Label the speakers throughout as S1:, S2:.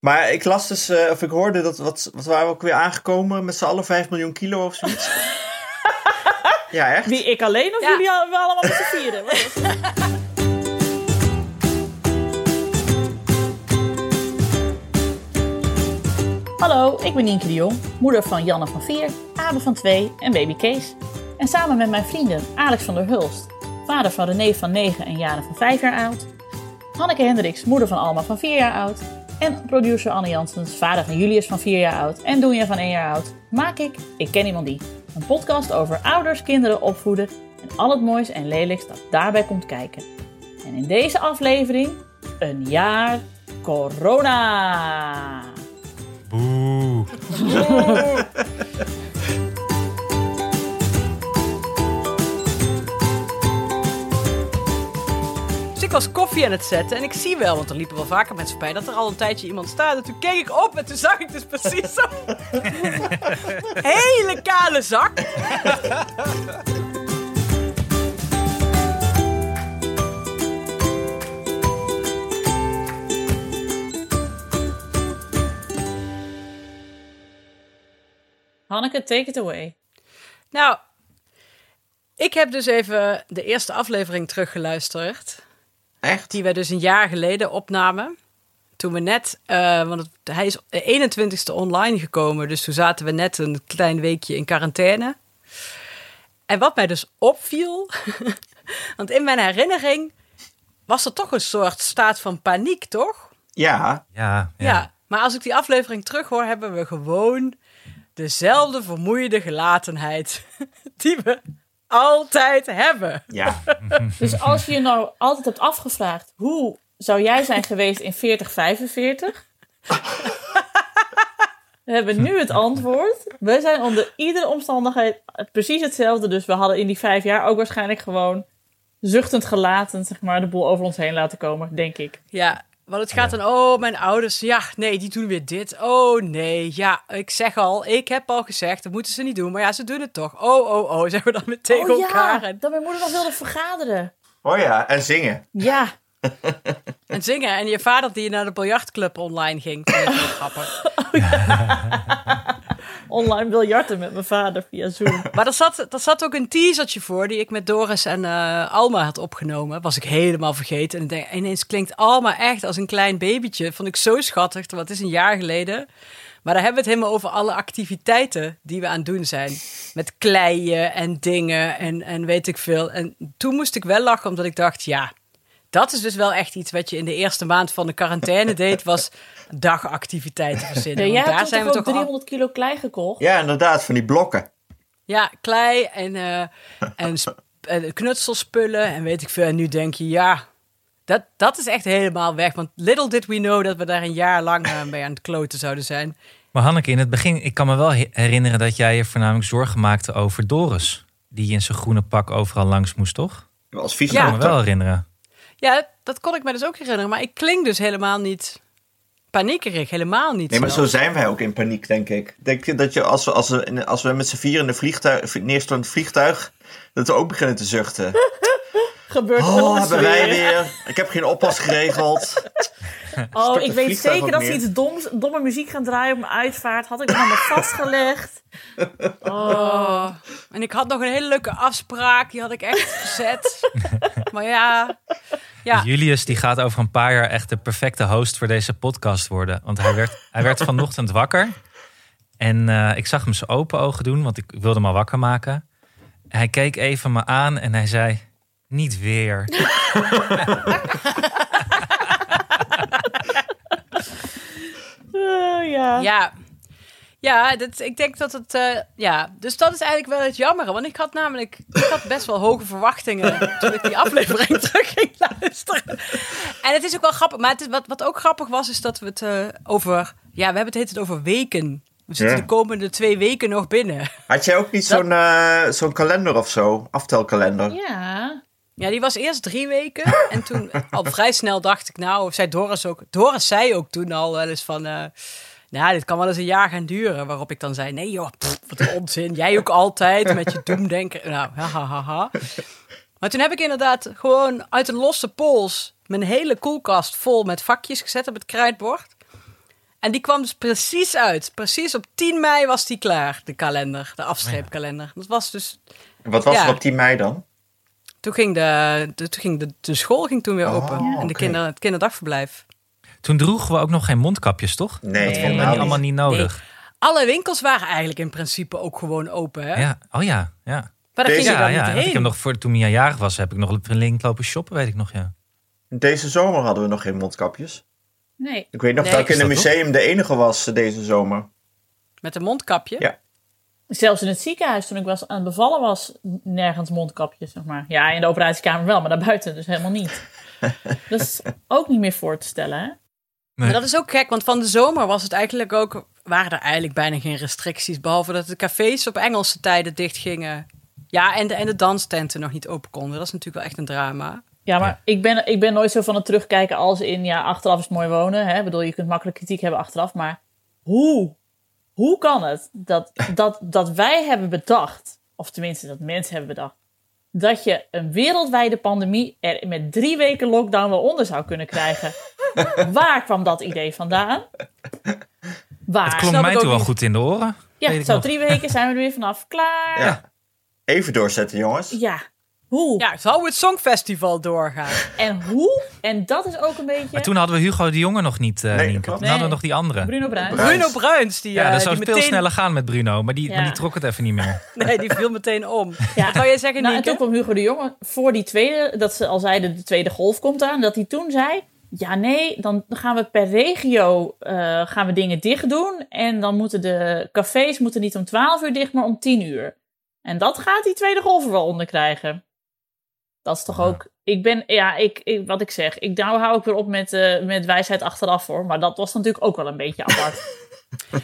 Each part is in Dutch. S1: Maar ik las dus, eh, of ik hoorde dat, wat, wat waren we ook weer aangekomen? Met z'n allen 5 miljoen kilo of zoiets. ja, echt?
S2: Wie ik alleen of
S3: Ja.
S2: jullie al- wel allemaal met z'n vieren? Wat- Hallo, ik ben Nienke de Jong, moeder van Janne van 4, Abe van 2 en baby Kees. En samen met mijn vrienden Alex van der Hulst, vader van René van 9 en Jaren van 5 jaar oud. Hanneke Hendricks, moeder van Alma van 4 jaar oud. En producer Anne Janssens, vader van Julius van 4 jaar oud en Doenja van 1 jaar oud. Maak ik Ik Ken Iemand Die. Een podcast over ouders, kinderen, opvoeden en al het moois en lelijks dat daarbij komt kijken. En in deze aflevering een jaar corona.
S4: Boe.
S3: Dus ik was koffie aan het zetten en ik zie wel, want er liepen wel vaker mensen voorbij, dat er al een tijdje iemand staat. En toen keek ik op en toen zag ik dus precies zo'n hele kale zak.
S2: Hanneke, take it away.
S3: Nou, ik heb dus even de eerste aflevering teruggeluisterd.
S1: Echt?
S3: Die wij dus een jaar geleden opnamen. Toen we net, eh, want het- hij is de 21ste online gekomen. Dus toen zaten we net een klein weekje in quarantaine. En wat mij dus opviel, want in mijn herinnering was er toch een soort staat van paniek, toch?
S1: Ja.
S4: Ja, ja.
S3: Ja. Maar als ik die aflevering terughoor, hebben we gewoon dezelfde vermoeide gelatenheid die we altijd hebben.
S1: Ja.
S2: Dus als je je nou altijd hebt afgevraagd hoe zou jij zijn geweest in 4045? We hebben nu het antwoord. We zijn onder iedere omstandigheid precies hetzelfde. Dus we hadden in die vijf jaar ook waarschijnlijk gewoon zuchtend gelaten, zeg maar, de boel over ons heen laten komen, denk ik.
S3: Ja, want het gaat dan, oh, mijn ouders, ja, nee, die doen weer dit. Oh, nee, ja, ik zeg al, ik heb al gezegd, dat moeten ze niet doen, maar ja, ze doen het toch. Oh, oh, oh, zeggen we dan weer tegen
S2: oh
S3: elkaar.
S2: ja,
S3: En,
S2: dat mijn moeder nog wilde vergaderen.
S1: Oh ja, en zingen.
S2: Ja,
S3: en zingen. En je vader die naar de biljartclub online ging. Vond ik wel grappig.
S2: online biljarten met mijn vader via Zoom.
S3: Maar er zat, er zat ook een teasertje voor die ik met Doris en eh, Alma had opgenomen. Was ik helemaal vergeten. En ik denk, ineens klinkt Alma echt als een klein babytje. Vond ik zo schattig, want het is een jaar geleden. Maar daar hebben we het helemaal over alle activiteiten die we aan het doen zijn. Met kleien en dingen en, en weet ik veel. En toen moest ik wel lachen, omdat ik dacht, ja, dat is dus wel echt iets wat je in de eerste maand van de quarantaine deed, was dagactiviteiten verzinnen.
S2: Ja, jij
S3: Want
S2: hebt toen
S3: daar zijn we
S2: toch ook
S3: toch al-
S2: 300 kilo klei gekocht?
S1: Ja, inderdaad, van die blokken.
S3: ja, klei en, eh, en, sp- en knutselspullen en weet ik veel. En nu denk je, ja, dat, dat is echt helemaal weg. Want little did we know dat we daar een jaar lang eh, mee aan het kloten zouden zijn.
S4: Maar Hanneke, in het begin, ik kan me wel he- herinneren dat jij je voornamelijk zorgen maakte over Doris. Die in zijn groene pak overal langs moest, toch?
S1: Als
S4: Ik kan me wel
S1: fysiotherapeut.
S4: herinneren.
S3: Ja, dat kon ik me dus ook herinneren. Maar ik klink dus helemaal niet paniekerig. Helemaal niet
S1: Nee, maar zo
S3: zelfs.
S1: zijn wij ook in paniek, denk ik. Denk je dat je als we, als we, als we met z'n vier in de vliegtuig, neerstorend vliegtuig, dat we ook beginnen te zuchten.
S2: Gebeurt
S1: Oh,
S2: alles
S1: hebben wij
S2: weer.
S1: weer. Ik heb geen oppas geregeld.
S2: Oh,
S1: Stort
S2: ik
S1: het
S2: weet
S1: vliegtuig
S2: zeker
S1: ook
S2: dat ze
S1: neer.
S2: iets doms, domme muziek gaan draaien op mijn uitvaart. Had ik me allemaal vastgelegd.
S3: Oh. En ik had nog een hele leuke afspraak. Die had ik echt verzet. maar ja, ja.
S4: Dus Julius die gaat over een paar jaar echt de perfecte host voor deze podcast worden. Want hij werd, hij werd vanochtend wakker. En eh, ik zag hem zijn open ogen doen, want ik wilde hem al wakker maken. En hij keek even me aan en hij zei, niet weer.
S2: Eh, ja.
S3: Ja, ja dat, ik denk dat het. eh, ja, dus dat is eigenlijk wel het jammere. Want ik had namelijk ik had best wel hoge verwachtingen toen ik die aflevering terug ging luisteren. En het is ook wel grappig. Maar het is, wat, wat ook grappig was, is dat we het eh, over. Ja, we hebben het heet het over weken. We zitten
S1: Ja.
S3: de komende twee weken nog binnen.
S1: Had jij ook niet
S3: Dat-
S1: zo'n eh, zo'n kalender of zo? Aftelkalender.
S2: Ja.
S3: Ja, die was eerst drie weken. En toen al vrij snel dacht ik, nou, of zei Doris ook. Doris zei ook toen al wel eens van. eh, nou, dit kan wel eens een jaar gaan duren. Waarop ik dan zei: Nee, joh, pff, wat een onzin. Jij ook altijd met je doemdenken. Nou, hahaha. Maar toen heb ik inderdaad gewoon uit een losse pols mijn hele koelkast vol met vakjes gezet op het kruidbord. En En die kwam dus precies uit. Precies op 10 mei was die klaar, de kalender, de afstreepkalender. Dat was dus
S1: En Wat was
S3: Ja.
S1: er op 10 mei dan?
S3: Toen ging de, de, toen ging de, de school ging toen weer
S1: Oh,
S3: open. en de
S1: oké.
S3: kinder, het kinderdagverblijf.
S4: Toen droegen we ook nog geen mondkapjes, toch?
S1: Nee,
S4: dat
S1: nee,
S4: vonden we
S1: helemaal
S4: niet allemaal niet nodig.
S3: Alle winkels waren eigenlijk in principe ook gewoon open. Hè?
S4: Ja. Oh ja, ja.
S3: Maar daar
S1: Deze-
S3: ging je
S4: Ja,
S3: dan
S4: ja.
S3: niet
S4: want
S3: heen.
S4: Ik heb nog voor toen Mia jarig was, heb ik nog een link lopen shoppen, weet ik
S3: Ah,
S4: nog. Ja.
S1: Deze zomer hadden we nog geen mondkapjes.
S2: Nee.
S1: Ik weet nog
S3: Nee.
S1: dat ik in
S4: Is
S1: een
S4: dat toch?
S1: museum de enige was eh, deze zomer.
S3: Met een mondkapje.
S1: Ja.
S2: Zelfs in het ziekenhuis, toen ik was aan het bevallen was, nergens mondkapjes, zeg maar. Ja, in de operatiekamer wel, maar daarbuiten dus helemaal niet. dat is ook niet meer voor te stellen, hè?
S4: Nee.
S3: Maar dat is ook gek, want van de zomer was het eigenlijk ook, waren er eigenlijk bijna geen restricties. Behalve dat de cafés op Engelse tijden dicht gingen. Ja, en de, en de danstenten nog niet open konden. Dat is natuurlijk wel echt een drama.
S2: Ja, maar
S4: Ja.
S2: Ik, ben, ik ben nooit zo van het terugkijken als in, ja, achteraf is het mooi wonen. Hè? Ik bedoel, je kunt makkelijk kritiek hebben achteraf, maar hoe? Hoe kan het dat, dat, dat wij hebben bedacht, of tenminste dat mensen hebben bedacht, dat je een wereldwijde pandemie er met drie weken lockdown wel onder zou kunnen krijgen? Waar kwam dat idee vandaan? Waar?
S4: Het klonk
S3: snap
S4: mij
S3: ik ook
S4: toen wel
S3: niet.
S4: goed in de oren.
S2: ja,
S4: weet ik
S2: zo
S4: nog.
S2: drie weken zijn we er weer vanaf. Klaar.
S1: Ja. Even doorzetten, jongens.
S2: Ja. Hoe?
S3: Ja, zou het Songfestival doorgaan?
S2: En hoe? En dat is ook een beetje...
S4: Maar toen hadden we Hugo de Jonge nog niet. eh
S1: Nee,
S4: Nienke.
S1: klopt.
S4: Toen hadden we
S2: Nee.
S4: nog die andere.
S2: Bruno Bruins.
S1: Bruins.
S3: Bruno Bruins, die,
S4: Ja,
S3: eh,
S4: dat
S3: die
S4: zou veel
S3: meteen,
S4: sneller gaan met Bruno, maar die,
S2: Ja.
S4: maar die trok het even niet meer.
S3: Nee, die viel meteen om. Wat wou jij zeggen,
S2: Nou, en
S3: Nienke?
S2: toen kwam Hugo de Jonge voor die tweede, dat ze al zeiden de tweede golf komt aan, dat hij toen zei: Ja, nee, dan gaan we per regio eh, gaan we dingen dicht doen. En dan moeten de cafés moeten niet om 12 uur dicht, maar om 10 uur. En dat gaat die tweede golf er wel onder krijgen. Dat is toch
S4: Ja.
S2: ook. Ik ben, ja, ik, ik- wat ik zeg. Ik, nou hou ik weer op met, eh, met wijsheid achteraf hoor. Maar dat was natuurlijk ook wel een beetje apart.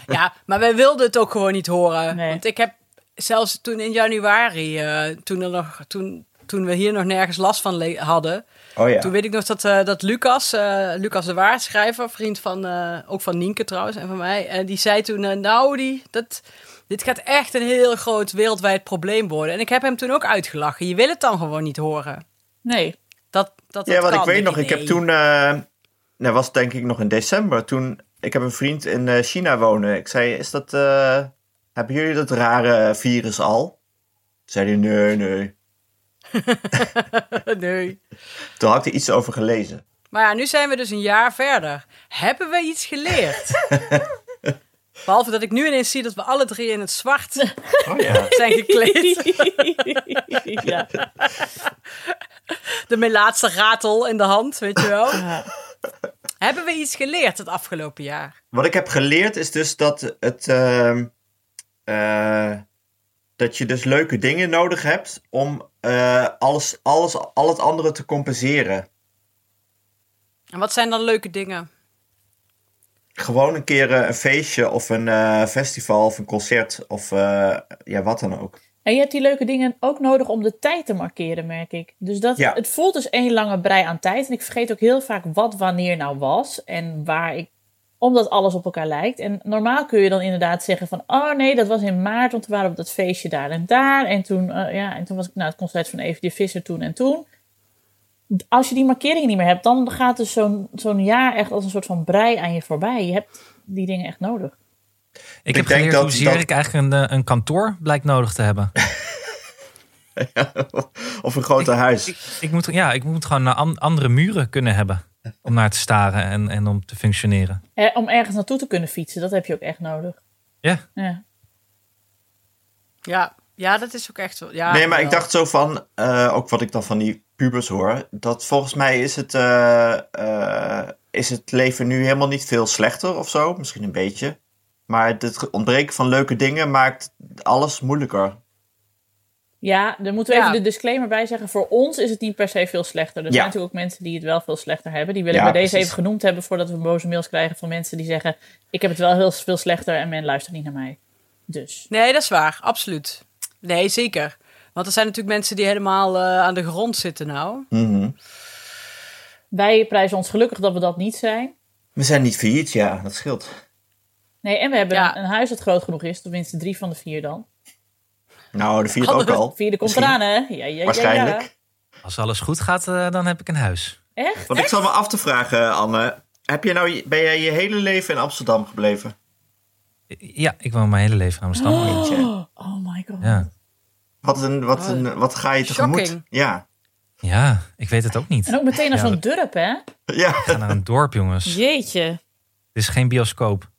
S3: Ja, maar wij wilden het ook gewoon niet horen.
S2: Nee.
S3: Want ik heb zelfs toen in januari, eh, toen, er nog, toen, toen we hier nog nergens last van le- hadden.
S1: Oh ja.
S3: Toen weet ik nog dat, eh, dat Lucas, eh, Lucas de Waarschrijver, vriend van, eh, ook van Nienke trouwens en van mij. eh, die zei toen, eh, nou die, dat, dit gaat echt een heel groot wereldwijd probleem worden. En ik heb hem toen ook uitgelachen. Je wil het dan gewoon niet horen.
S2: Nee.
S3: Dat, dat,
S1: Ja,
S3: dat
S1: want ik
S3: kan.
S1: weet nog,
S3: Nee.
S1: ik heb toen, eh dat was denk ik nog in december, toen, ik heb een vriend in eh, China wonen. Ik zei, is dat, eh, hebben jullie dat rare virus al? Toen zei hij, nee, nee.
S3: nee.
S1: Toen had ik er iets over gelezen.
S3: Maar ja, nu zijn we dus een jaar verder. Hebben we iets geleerd? Behalve dat ik nu ineens zie dat we alle drie in het zwart
S1: Oh ja.
S3: zijn gekleed.
S2: ja.
S3: De laatste ratel in de hand, weet je wel. Hebben we iets geleerd het afgelopen jaar?
S1: Wat ik heb geleerd is dus dat het, ehm, eh, dat je dus leuke dingen nodig hebt om eh, alles, alles, al het andere te compenseren.
S3: En wat zijn dan leuke dingen?
S1: Gewoon een keer eh, een feestje of een eh, festival of een concert of eh, ja, wat dan ook.
S2: En je hebt die leuke dingen ook nodig om de tijd te markeren, merk ik. Dus dat,
S1: Ja.
S2: het voelt dus één lange brei aan tijd. En ik vergeet ook heel vaak wat wanneer nou was en waar ik... Omdat alles op elkaar lijkt. En normaal kun je dan inderdaad zeggen van... Oh nee, dat was in maart, want we waren op dat feestje daar en daar. En toen, eh, ja, en toen was ik naar het concert van Evie de Visser toen en toen. Als je die markeringen niet meer hebt, dan gaat dus zo'n zo'n jaar echt als een soort van brei aan je voorbij. Je hebt die dingen echt nodig.
S4: Ik
S1: denk
S4: heb geleerd
S1: dat-
S4: hoezeer
S1: dat-
S4: ik eigenlijk een, eh, een kantoor blijkt nodig te hebben.
S1: Of een groter huis.
S4: Ik moet, ja, ik moet gewoon eh, an- andere muren kunnen hebben om naar te staren en, en om te functioneren.
S2: Eh, om ergens naartoe te kunnen fietsen, dat heb je ook echt nodig.
S4: Ja,
S2: Ja.
S3: Ja, ja dat is ook echt zo. Ja,
S1: nee, maar ik
S3: wel.
S1: dacht zo van, eh, ook wat ik dan van die pubers hoor, dat volgens mij is het, eh, eh, is het leven nu helemaal niet veel slechter of zo. Misschien een beetje. Maar het ontbreken van leuke dingen maakt alles moeilijker.
S2: Ja, daar moeten we
S3: Ja.
S2: even de disclaimer bij zeggen. Voor ons is het niet per se veel slechter. Er zijn
S1: Ja.
S2: natuurlijk ook mensen die het wel veel slechter hebben. Die wil ik
S1: Ja,
S2: bij deze
S1: precies.
S2: even genoemd hebben voordat we boze mails krijgen van mensen die zeggen: Ik heb het wel heel veel slechter en men luistert niet naar mij. Dus.
S3: Nee, dat is waar. Absoluut. Nee, zeker. Want er zijn natuurlijk mensen die helemaal eh, aan de grond zitten nou.
S1: Mhm.
S2: Wij prijzen ons gelukkig dat we dat niet zijn.
S1: We zijn niet failliet, ja, dat scheelt.
S2: Nee, en we hebben
S3: Ja.
S2: een, een huis dat groot genoeg is. Tenminste, drie van de vier dan.
S1: Nou, de vierde ook
S3: Hadden we-
S1: al.
S2: Oh, Vierde komt
S1: Misschien.
S2: eraan, hè? Ja, ja, ja,
S1: Waarschijnlijk.
S2: Ja,
S4: als alles goed gaat, eh, dan heb ik een huis.
S2: Echt?
S1: Want ik zat me af te vragen, Anne. Heb je nou, ben jij je hele leven in Amsterdam gebleven?
S4: Ja, ik woon mijn hele leven in Amsterdam.
S2: Oh, oh my god.
S4: Ja.
S1: Wat, een,
S2: Oh,
S1: wat, een, wat ga je tegemoet?
S3: Shocking.
S1: Ja.
S4: ja, ik weet het ook niet.
S2: En ook meteen naar
S4: Ja,
S2: zo'n dorp, hè?
S1: ja.
S4: We gaan naar een dorp, jongens. Het
S2: Jeetje.
S4: is geen bioscoop.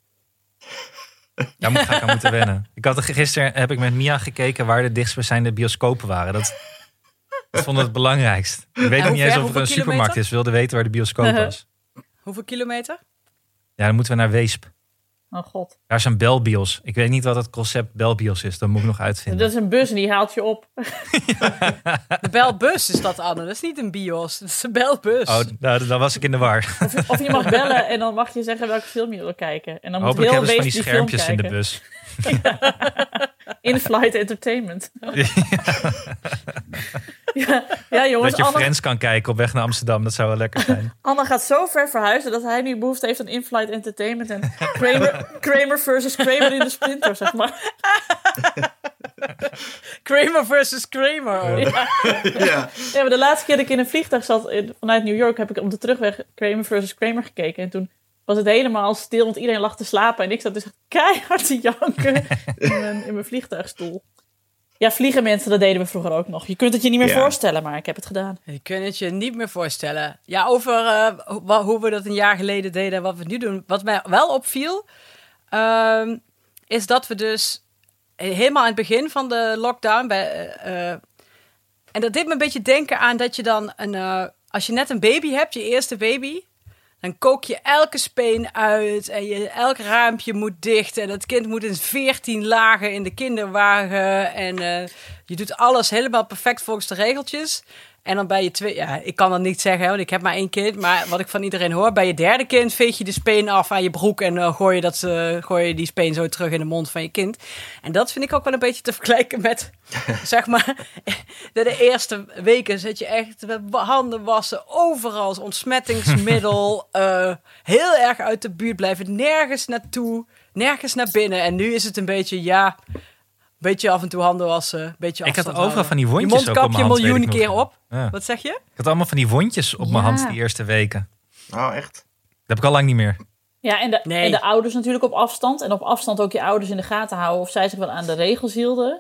S4: Daar moet, ga ik aan moeten wennen. Ik had, er- gisteren heb ik met Mia gekeken waar de dichtstbijzijnde bioscopen waren. Dat, dat vond ik het belangrijkst. Ik weet
S3: hoe
S4: nog niet
S3: ver?
S4: eens of er
S3: Hoeveel
S4: een supermarkt
S3: kilometer?
S4: is. We wilden weten waar de bioscoop was.
S3: Hoeveel kilometer?
S4: Ja, dan moeten we naar Weesp.
S2: Oh god.
S4: Daar is een belbios. Ik weet niet wat het concept belbios is. Dat moet ik nog
S2: Dat
S4: uitvinden.
S2: is een bus en die haalt je op.
S3: De belbus is dat, Anne. Dat is niet een bios. Dat is een belbus.
S4: Oh, nou, dan was ik in de war.
S2: Of je mag bellen en dan mag je zeggen welke film je wil kijken. En dan moet
S4: Hopelijk
S2: heel
S4: hebben ze van
S2: Wees
S4: die
S2: die film
S4: schermpjes in de
S2: kijken.
S4: bus.
S2: In-flight entertainment. ja, ja, jongens,
S4: Dat je
S2: Anne,
S4: Friends kan kijken op weg naar Amsterdam. Dat zou wel lekker zijn.
S2: Anne gaat zo ver verhuizen dat hij nu behoefte heeft aan in-flight entertainment. En Kramer, Kramer versus Kramer in de splinter, zeg maar.
S3: Kramer versus Kramer. oh.
S1: ja.
S2: Ja, maar de laatste keer dat ik in een vliegtuig zat in- vanuit New York, heb ik op de terugweg Kramer versus Kramer gekeken. En toen was het helemaal stil, want iedereen lag te slapen. En ik zat dus echt keihard te janken in mijn, in mijn vliegtuigstoel. Ja, vliegen mensen, dat deden we vroeger ook nog. Je kunt het je niet meer
S1: Ja.
S2: voorstellen, maar ik heb het gedaan.
S3: Je kunt het je niet meer voorstellen. Ja, over eh, ho- wa- hoe we dat een jaar geleden deden en wat we nu doen. Wat mij wel opviel, ehm, is dat we dus helemaal aan het begin van de lockdown... Bij, eh, eh, en dat deed me een beetje denken aan dat je dan... Een, eh, als je net een baby hebt, je eerste baby... Dan kook je elke speen uit en je, elk raampje moet dicht. En dat kind moet in veertien lagen in de kinderwagen. En eh, je doet alles helemaal perfect volgens de regeltjes. En dan bij je twee, ja, ik kan dat niet zeggen, want ik heb maar één kind. Maar wat ik van iedereen hoor, bij je derde kind veeg je de speen af aan je broek. En eh, gooi, je dat, eh, gooi je die speen zo terug in de mond van je kind. En dat vind ik ook wel een beetje te vergelijken met, zeg maar, de, de eerste weken zit je echt met handen wassen, overal als ontsmettingsmiddel, eh, heel erg uit de buurt blijven, nergens naartoe, nergens naar binnen. En nu is het een beetje, ja, een beetje af en toe handen wassen, een beetje
S4: Ik had
S3: afstand
S4: overal
S3: houden.
S4: van die
S3: Je
S4: wondjes ook op
S3: mondkapje
S4: mijn
S3: een
S4: hand, weet
S3: miljoen
S4: ik nog.
S3: keer op.
S4: Ja.
S3: Wat zeg je?
S4: Ik had allemaal van die wondjes op mijn
S2: Ja.
S4: hand die eerste weken.
S1: Nou, echt.
S4: Dat heb ik al lang niet meer.
S2: Ja, en de,
S3: Nee.
S2: en de ouders natuurlijk op afstand. En op afstand ook je ouders in de gaten houden of zij zich wel aan de regels hielden.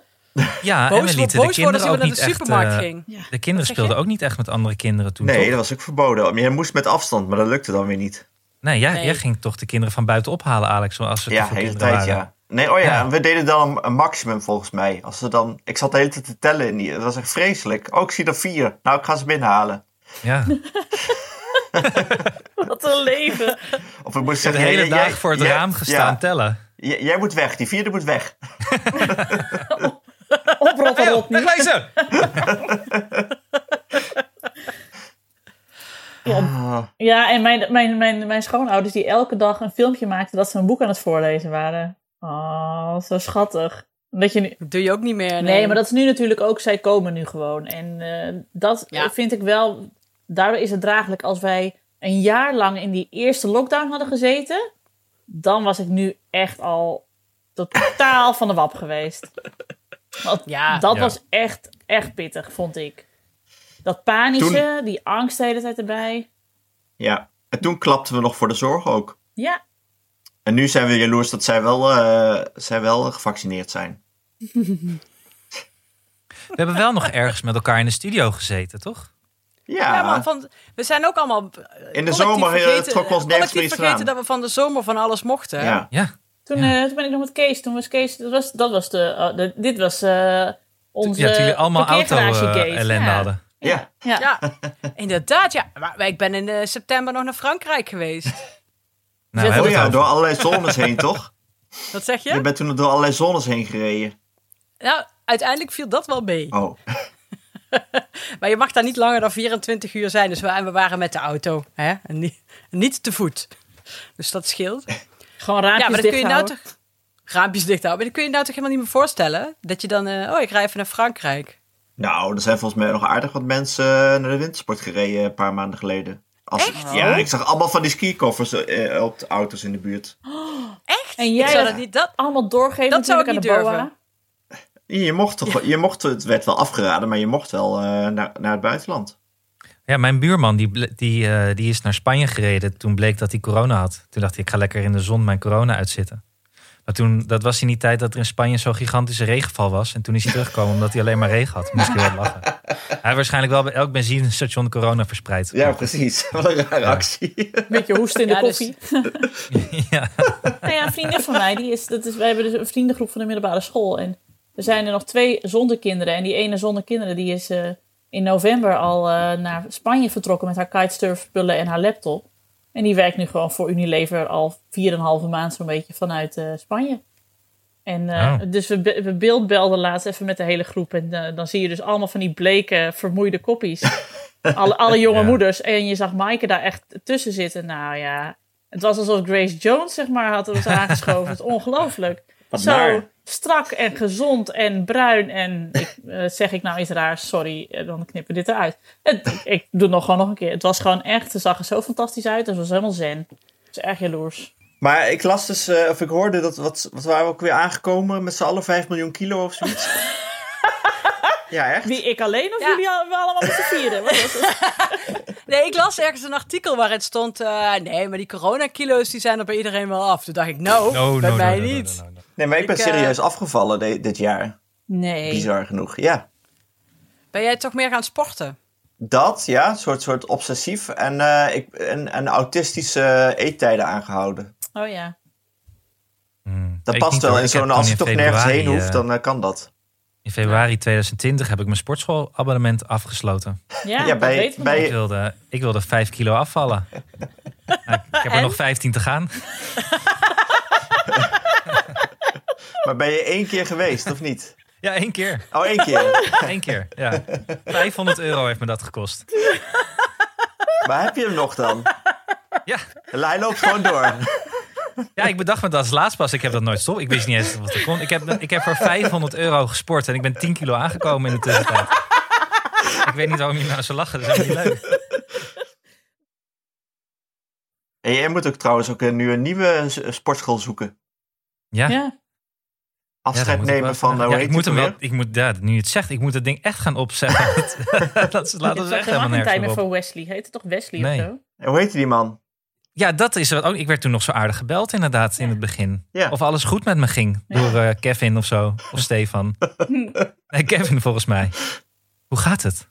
S4: Ja, en we
S3: Boos,
S4: lieten
S3: boos worden
S4: de
S3: als
S4: kinderen
S3: iemand
S4: ook
S3: naar
S4: niet
S3: de
S4: echt...
S3: supermarkt
S4: eh,
S3: ging.
S2: Ja.
S4: de kinderen
S3: zeg je?
S4: speelden ook niet echt met andere kinderen toen,
S1: Nee,
S4: toch?
S1: dat was ook verboden. Je moest met afstand, maar dat lukte dan weer niet.
S4: Nee, jij,
S3: Nee.
S4: jij ging toch de kinderen van buiten ophalen, Alex? Als er
S1: Ja,
S4: te
S1: de
S4: veel
S1: hele
S4: kinderen
S1: tijd,
S4: waren.
S1: ja. Nee, oh ja,
S4: Ja.
S1: en we deden dan een, een maximum volgens mij. Als ze dan, ik zat de hele tijd te tellen in die. Dat was echt vreselijk. Oh, ik zie er vier. Nou, ik ga ze binnenhalen.
S4: Ja.
S2: Wat een leven.
S1: Of ik moest
S4: De
S1: zeggen,
S4: hele
S1: jij-
S4: dag
S1: jij-
S4: voor het
S1: jij-
S4: raam gestaan
S1: ja,
S4: tellen.
S1: jij- jij moet weg, die vierde moet weg.
S2: Op Rotterdam.
S4: Hey, weg wezen!
S2: Ja, en mijn, mijn, mijn, mijn schoonouders die elke dag een filmpje maakten dat ze een boek aan het voorlezen waren. Oh, zo schattig. Dat je nu...
S3: Dat doe je ook niet meer. Nee,
S2: Nee, maar dat is nu natuurlijk ook, zij komen nu gewoon. En eh, dat
S3: Ja.
S2: vind ik wel, daardoor is het draaglijk. Als wij een jaar lang in die eerste lockdown hadden gezeten, dan was ik nu echt al totaal van de wap geweest. Want
S3: Ja.
S2: dat
S4: Ja.
S2: was echt, echt pittig, vond ik. Dat panische, die angst de hele tijd erbij.
S1: Ja. En toen klapten we nog voor de zorg ook.
S2: Ja,
S1: En nu zijn we jaloers dat zij wel, eh, zij wel gevaccineerd zijn.
S4: We hebben wel nog ergens met elkaar in de studio gezeten, toch?
S1: Ja,
S3: Ja, maar van, we zijn ook allemaal. eh, collectief
S1: zomer, eh,
S3: vergeten-
S1: trokken we ons nergens
S3: collectief
S1: meer iets
S3: vergeten
S1: aan.
S3: dat we van de zomer van alles mochten.
S1: ja.
S4: Ja.
S2: Toen,
S4: Ja.
S2: eh, toen ben ik nog met Kees. Toen was Kees. Dat was, dat was de, eh, de- Dit was eh onze.
S4: ja, toen jullie allemaal
S2: parkeergarage-gate.
S4: auto-ellende
S2: ja.
S4: hadden.
S1: ja.
S2: Ja.
S3: Ja, inderdaad. Ja. Maar ik ben in eh, september nog naar Frankrijk geweest.
S4: Nou, we
S2: Zet-
S1: Oh
S4: hebben
S1: ja,
S4: het
S1: door
S4: over.
S1: allerlei zones heen, toch?
S3: Wat zeg
S1: Je
S3: je?
S1: bent toen door allerlei zones heen gereden.
S3: Nou, uiteindelijk viel dat wel mee.
S1: Oh,
S3: Maar je mag daar niet langer dan 24 uur zijn. Dus we, en we waren met de auto. Hè? En niet, niet te voet. Dus dat scheelt.
S2: Gewoon raampjes
S3: Ja, maar dat kun je nou
S2: dichthouden.
S3: toch... Raampjes dicht houden. Maar dat kun je nou toch helemaal niet meer voorstellen? Dat je dan... eh, oh, ik rij even naar Frankrijk.
S1: nou, er zijn volgens mij nog aardig wat mensen eh, naar de wintersport gereden een paar maanden geleden. Als, Ja, ik zag allemaal van die skikoffers eh, op de auto's in de buurt.
S3: Echt?
S2: En jij
S3: ik zou
S2: dat-
S3: dat niet... Dat,
S2: Allemaal doorgeven
S3: Dat zou ik
S2: natuurlijk
S3: niet
S2: aan de
S3: durven.
S2: BOA.
S1: Je mocht toch, je mocht, het werd wel afgeraden, maar je mocht wel eh, naar, naar het buitenland.
S4: Ja, mijn buurman die, ble- die, eh, die is naar Spanje gereden toen bleek dat hij corona had. Toen dacht hij, ik ga lekker in de zon mijn corona uitzitten. Maar toen, dat was in die tijd dat er in Spanje zo'n gigantische regenval was. En toen is hij teruggekomen omdat hij alleen maar regen had. Moest hij wel lachen. Hij heeft waarschijnlijk wel bij elk benzinestation corona verspreid.
S1: Ja, precies. Wat een rare actie.
S2: Beetje hoest in de
S3: Ja, dus-
S2: koffie.
S4: ja.
S2: Nou ja, een vriendin van mij, die is, dat is, wij hebben dus een vriendengroep van de middelbare school. En er zijn er nog twee zonder kinderen. En die ene zonder kinderen, die is eh, in november al eh, naar Spanje vertrokken met haar kitesurfspullen en haar laptop. En die werkt nu gewoon voor Unilever al 4,5 maand zo'n beetje vanuit eh, Spanje. En eh,
S4: Oh.
S2: dus we, be- we beeldbelden laatst even met de hele groep. En eh, dan zie je dus allemaal van die bleke, vermoeide koppies. alle, alle jonge
S4: Ja.
S2: moeders. En je zag Maaike daar echt tussen zitten. Nou ja, het was alsof Grace Jones, zeg maar, had ons aangeschoven. Het is ongelooflijk.
S1: Wat
S2: Zo
S1: naar.
S2: strak en gezond en bruin. En ik, eh, zeg ik nou iets raars, sorry, eh, dan knippen we dit eruit. Het, ik- ik doe het nog gewoon nog een keer. Het was gewoon echt, ze zag er zo fantastisch uit. Het was helemaal zen. Het is erg jaloers.
S1: Maar ik las dus, eh, of ik hoorde dat, wat, wat waren we ook weer aangekomen? Met z'n allen 5 miljoen kilo of zoiets. ja, echt?
S2: Wie, ik alleen of
S3: Ja.
S2: jullie al- we allemaal met z'n vieren? Wat was het?
S3: Nee, ik las ergens een artikel waarin stond... eh, nee, maar die coronakilo's die zijn er bij iedereen wel af. Toen dacht ik, nou,
S4: No,
S3: bij
S4: no,
S3: mij
S4: no, no, no,
S3: niet.
S4: no, no, no.
S1: Nee, maar ik ben
S3: Ik, eh,
S1: serieus afgevallen de- dit jaar.
S2: Nee.
S1: Bizar genoeg. Ja,
S3: Ben jij toch meer gaan sporten?
S1: dat, ja. Een soort, soort obsessief en, eh, ik, en, en autistische eh, eettijden aangehouden.
S2: Oh ja.
S4: Hmm.
S1: Dat
S4: Ik
S1: past
S4: niet,
S1: wel
S4: hoor.
S1: in
S4: Ik heb
S1: zo'n,
S4: toen
S1: als je
S4: in
S1: toch nergens
S4: februari,
S1: heen hoeft,
S4: eh,
S1: dan eh, kan dat.
S4: In februari 2020 heb ik mijn sportschoolabonnement afgesloten.
S2: Ja,
S1: Ja, bij-
S2: dat weten we
S1: bij-
S2: nog.
S4: Ik wilde, ik wilde 5 kilo afvallen. Nou, ik heb er
S3: En?
S4: nog 15 te gaan.
S1: Maar ben je één keer geweest, of niet?
S4: Ja, één keer.
S1: Oh, één keer.
S4: Eén keer. Ja. 500 euro heeft me dat gekost.
S1: Maar heb je hem nog dan?
S4: Ja.
S1: Hij loopt gewoon door.
S4: Ja, ik bedacht me dat als laatst pas. Ik heb dat nooit stop. Ik wist niet eens wat er kon. Ik heb, ik heb voor 500 euro gesport en ik ben 10 kilo aangekomen in de tussentijd. Ik weet niet waarom je nou zo lachen. Dat is helemaal niet leuk.
S1: En jij moet ook trouwens ook eh, nu een nieuwe s- sportschool zoeken.
S4: Ja, ja,
S2: Ja.
S4: dat
S1: Afscheid
S4: moet ik wel
S1: nemen van,
S4: zeggen.
S1: eh, hoe
S4: Ja,
S1: heet
S4: ik moet
S1: die
S4: hem wel.
S1: ook
S4: Ik moet, ja, nu je het zegt, ik moet dat ding echt gaan opzeggen. dat is- laat
S2: Het
S4: ons
S2: was
S4: echt
S2: helemaal
S4: helemaal
S2: geen tijd meer
S4: nergens meer op.
S2: voor Wesley. Heet het toch Wesley
S4: Nee.
S2: of zo?
S1: weer? Eh, Hoe heette die man?
S4: Ja, dat is wat ook. Ik werd toen nog zo aardig gebeld, inderdaad, in het begin.
S1: Ja.
S4: Of alles goed met me ging door eh, Kevin of zo. Of Stefan. nee, Kevin volgens mij. Hoe gaat het?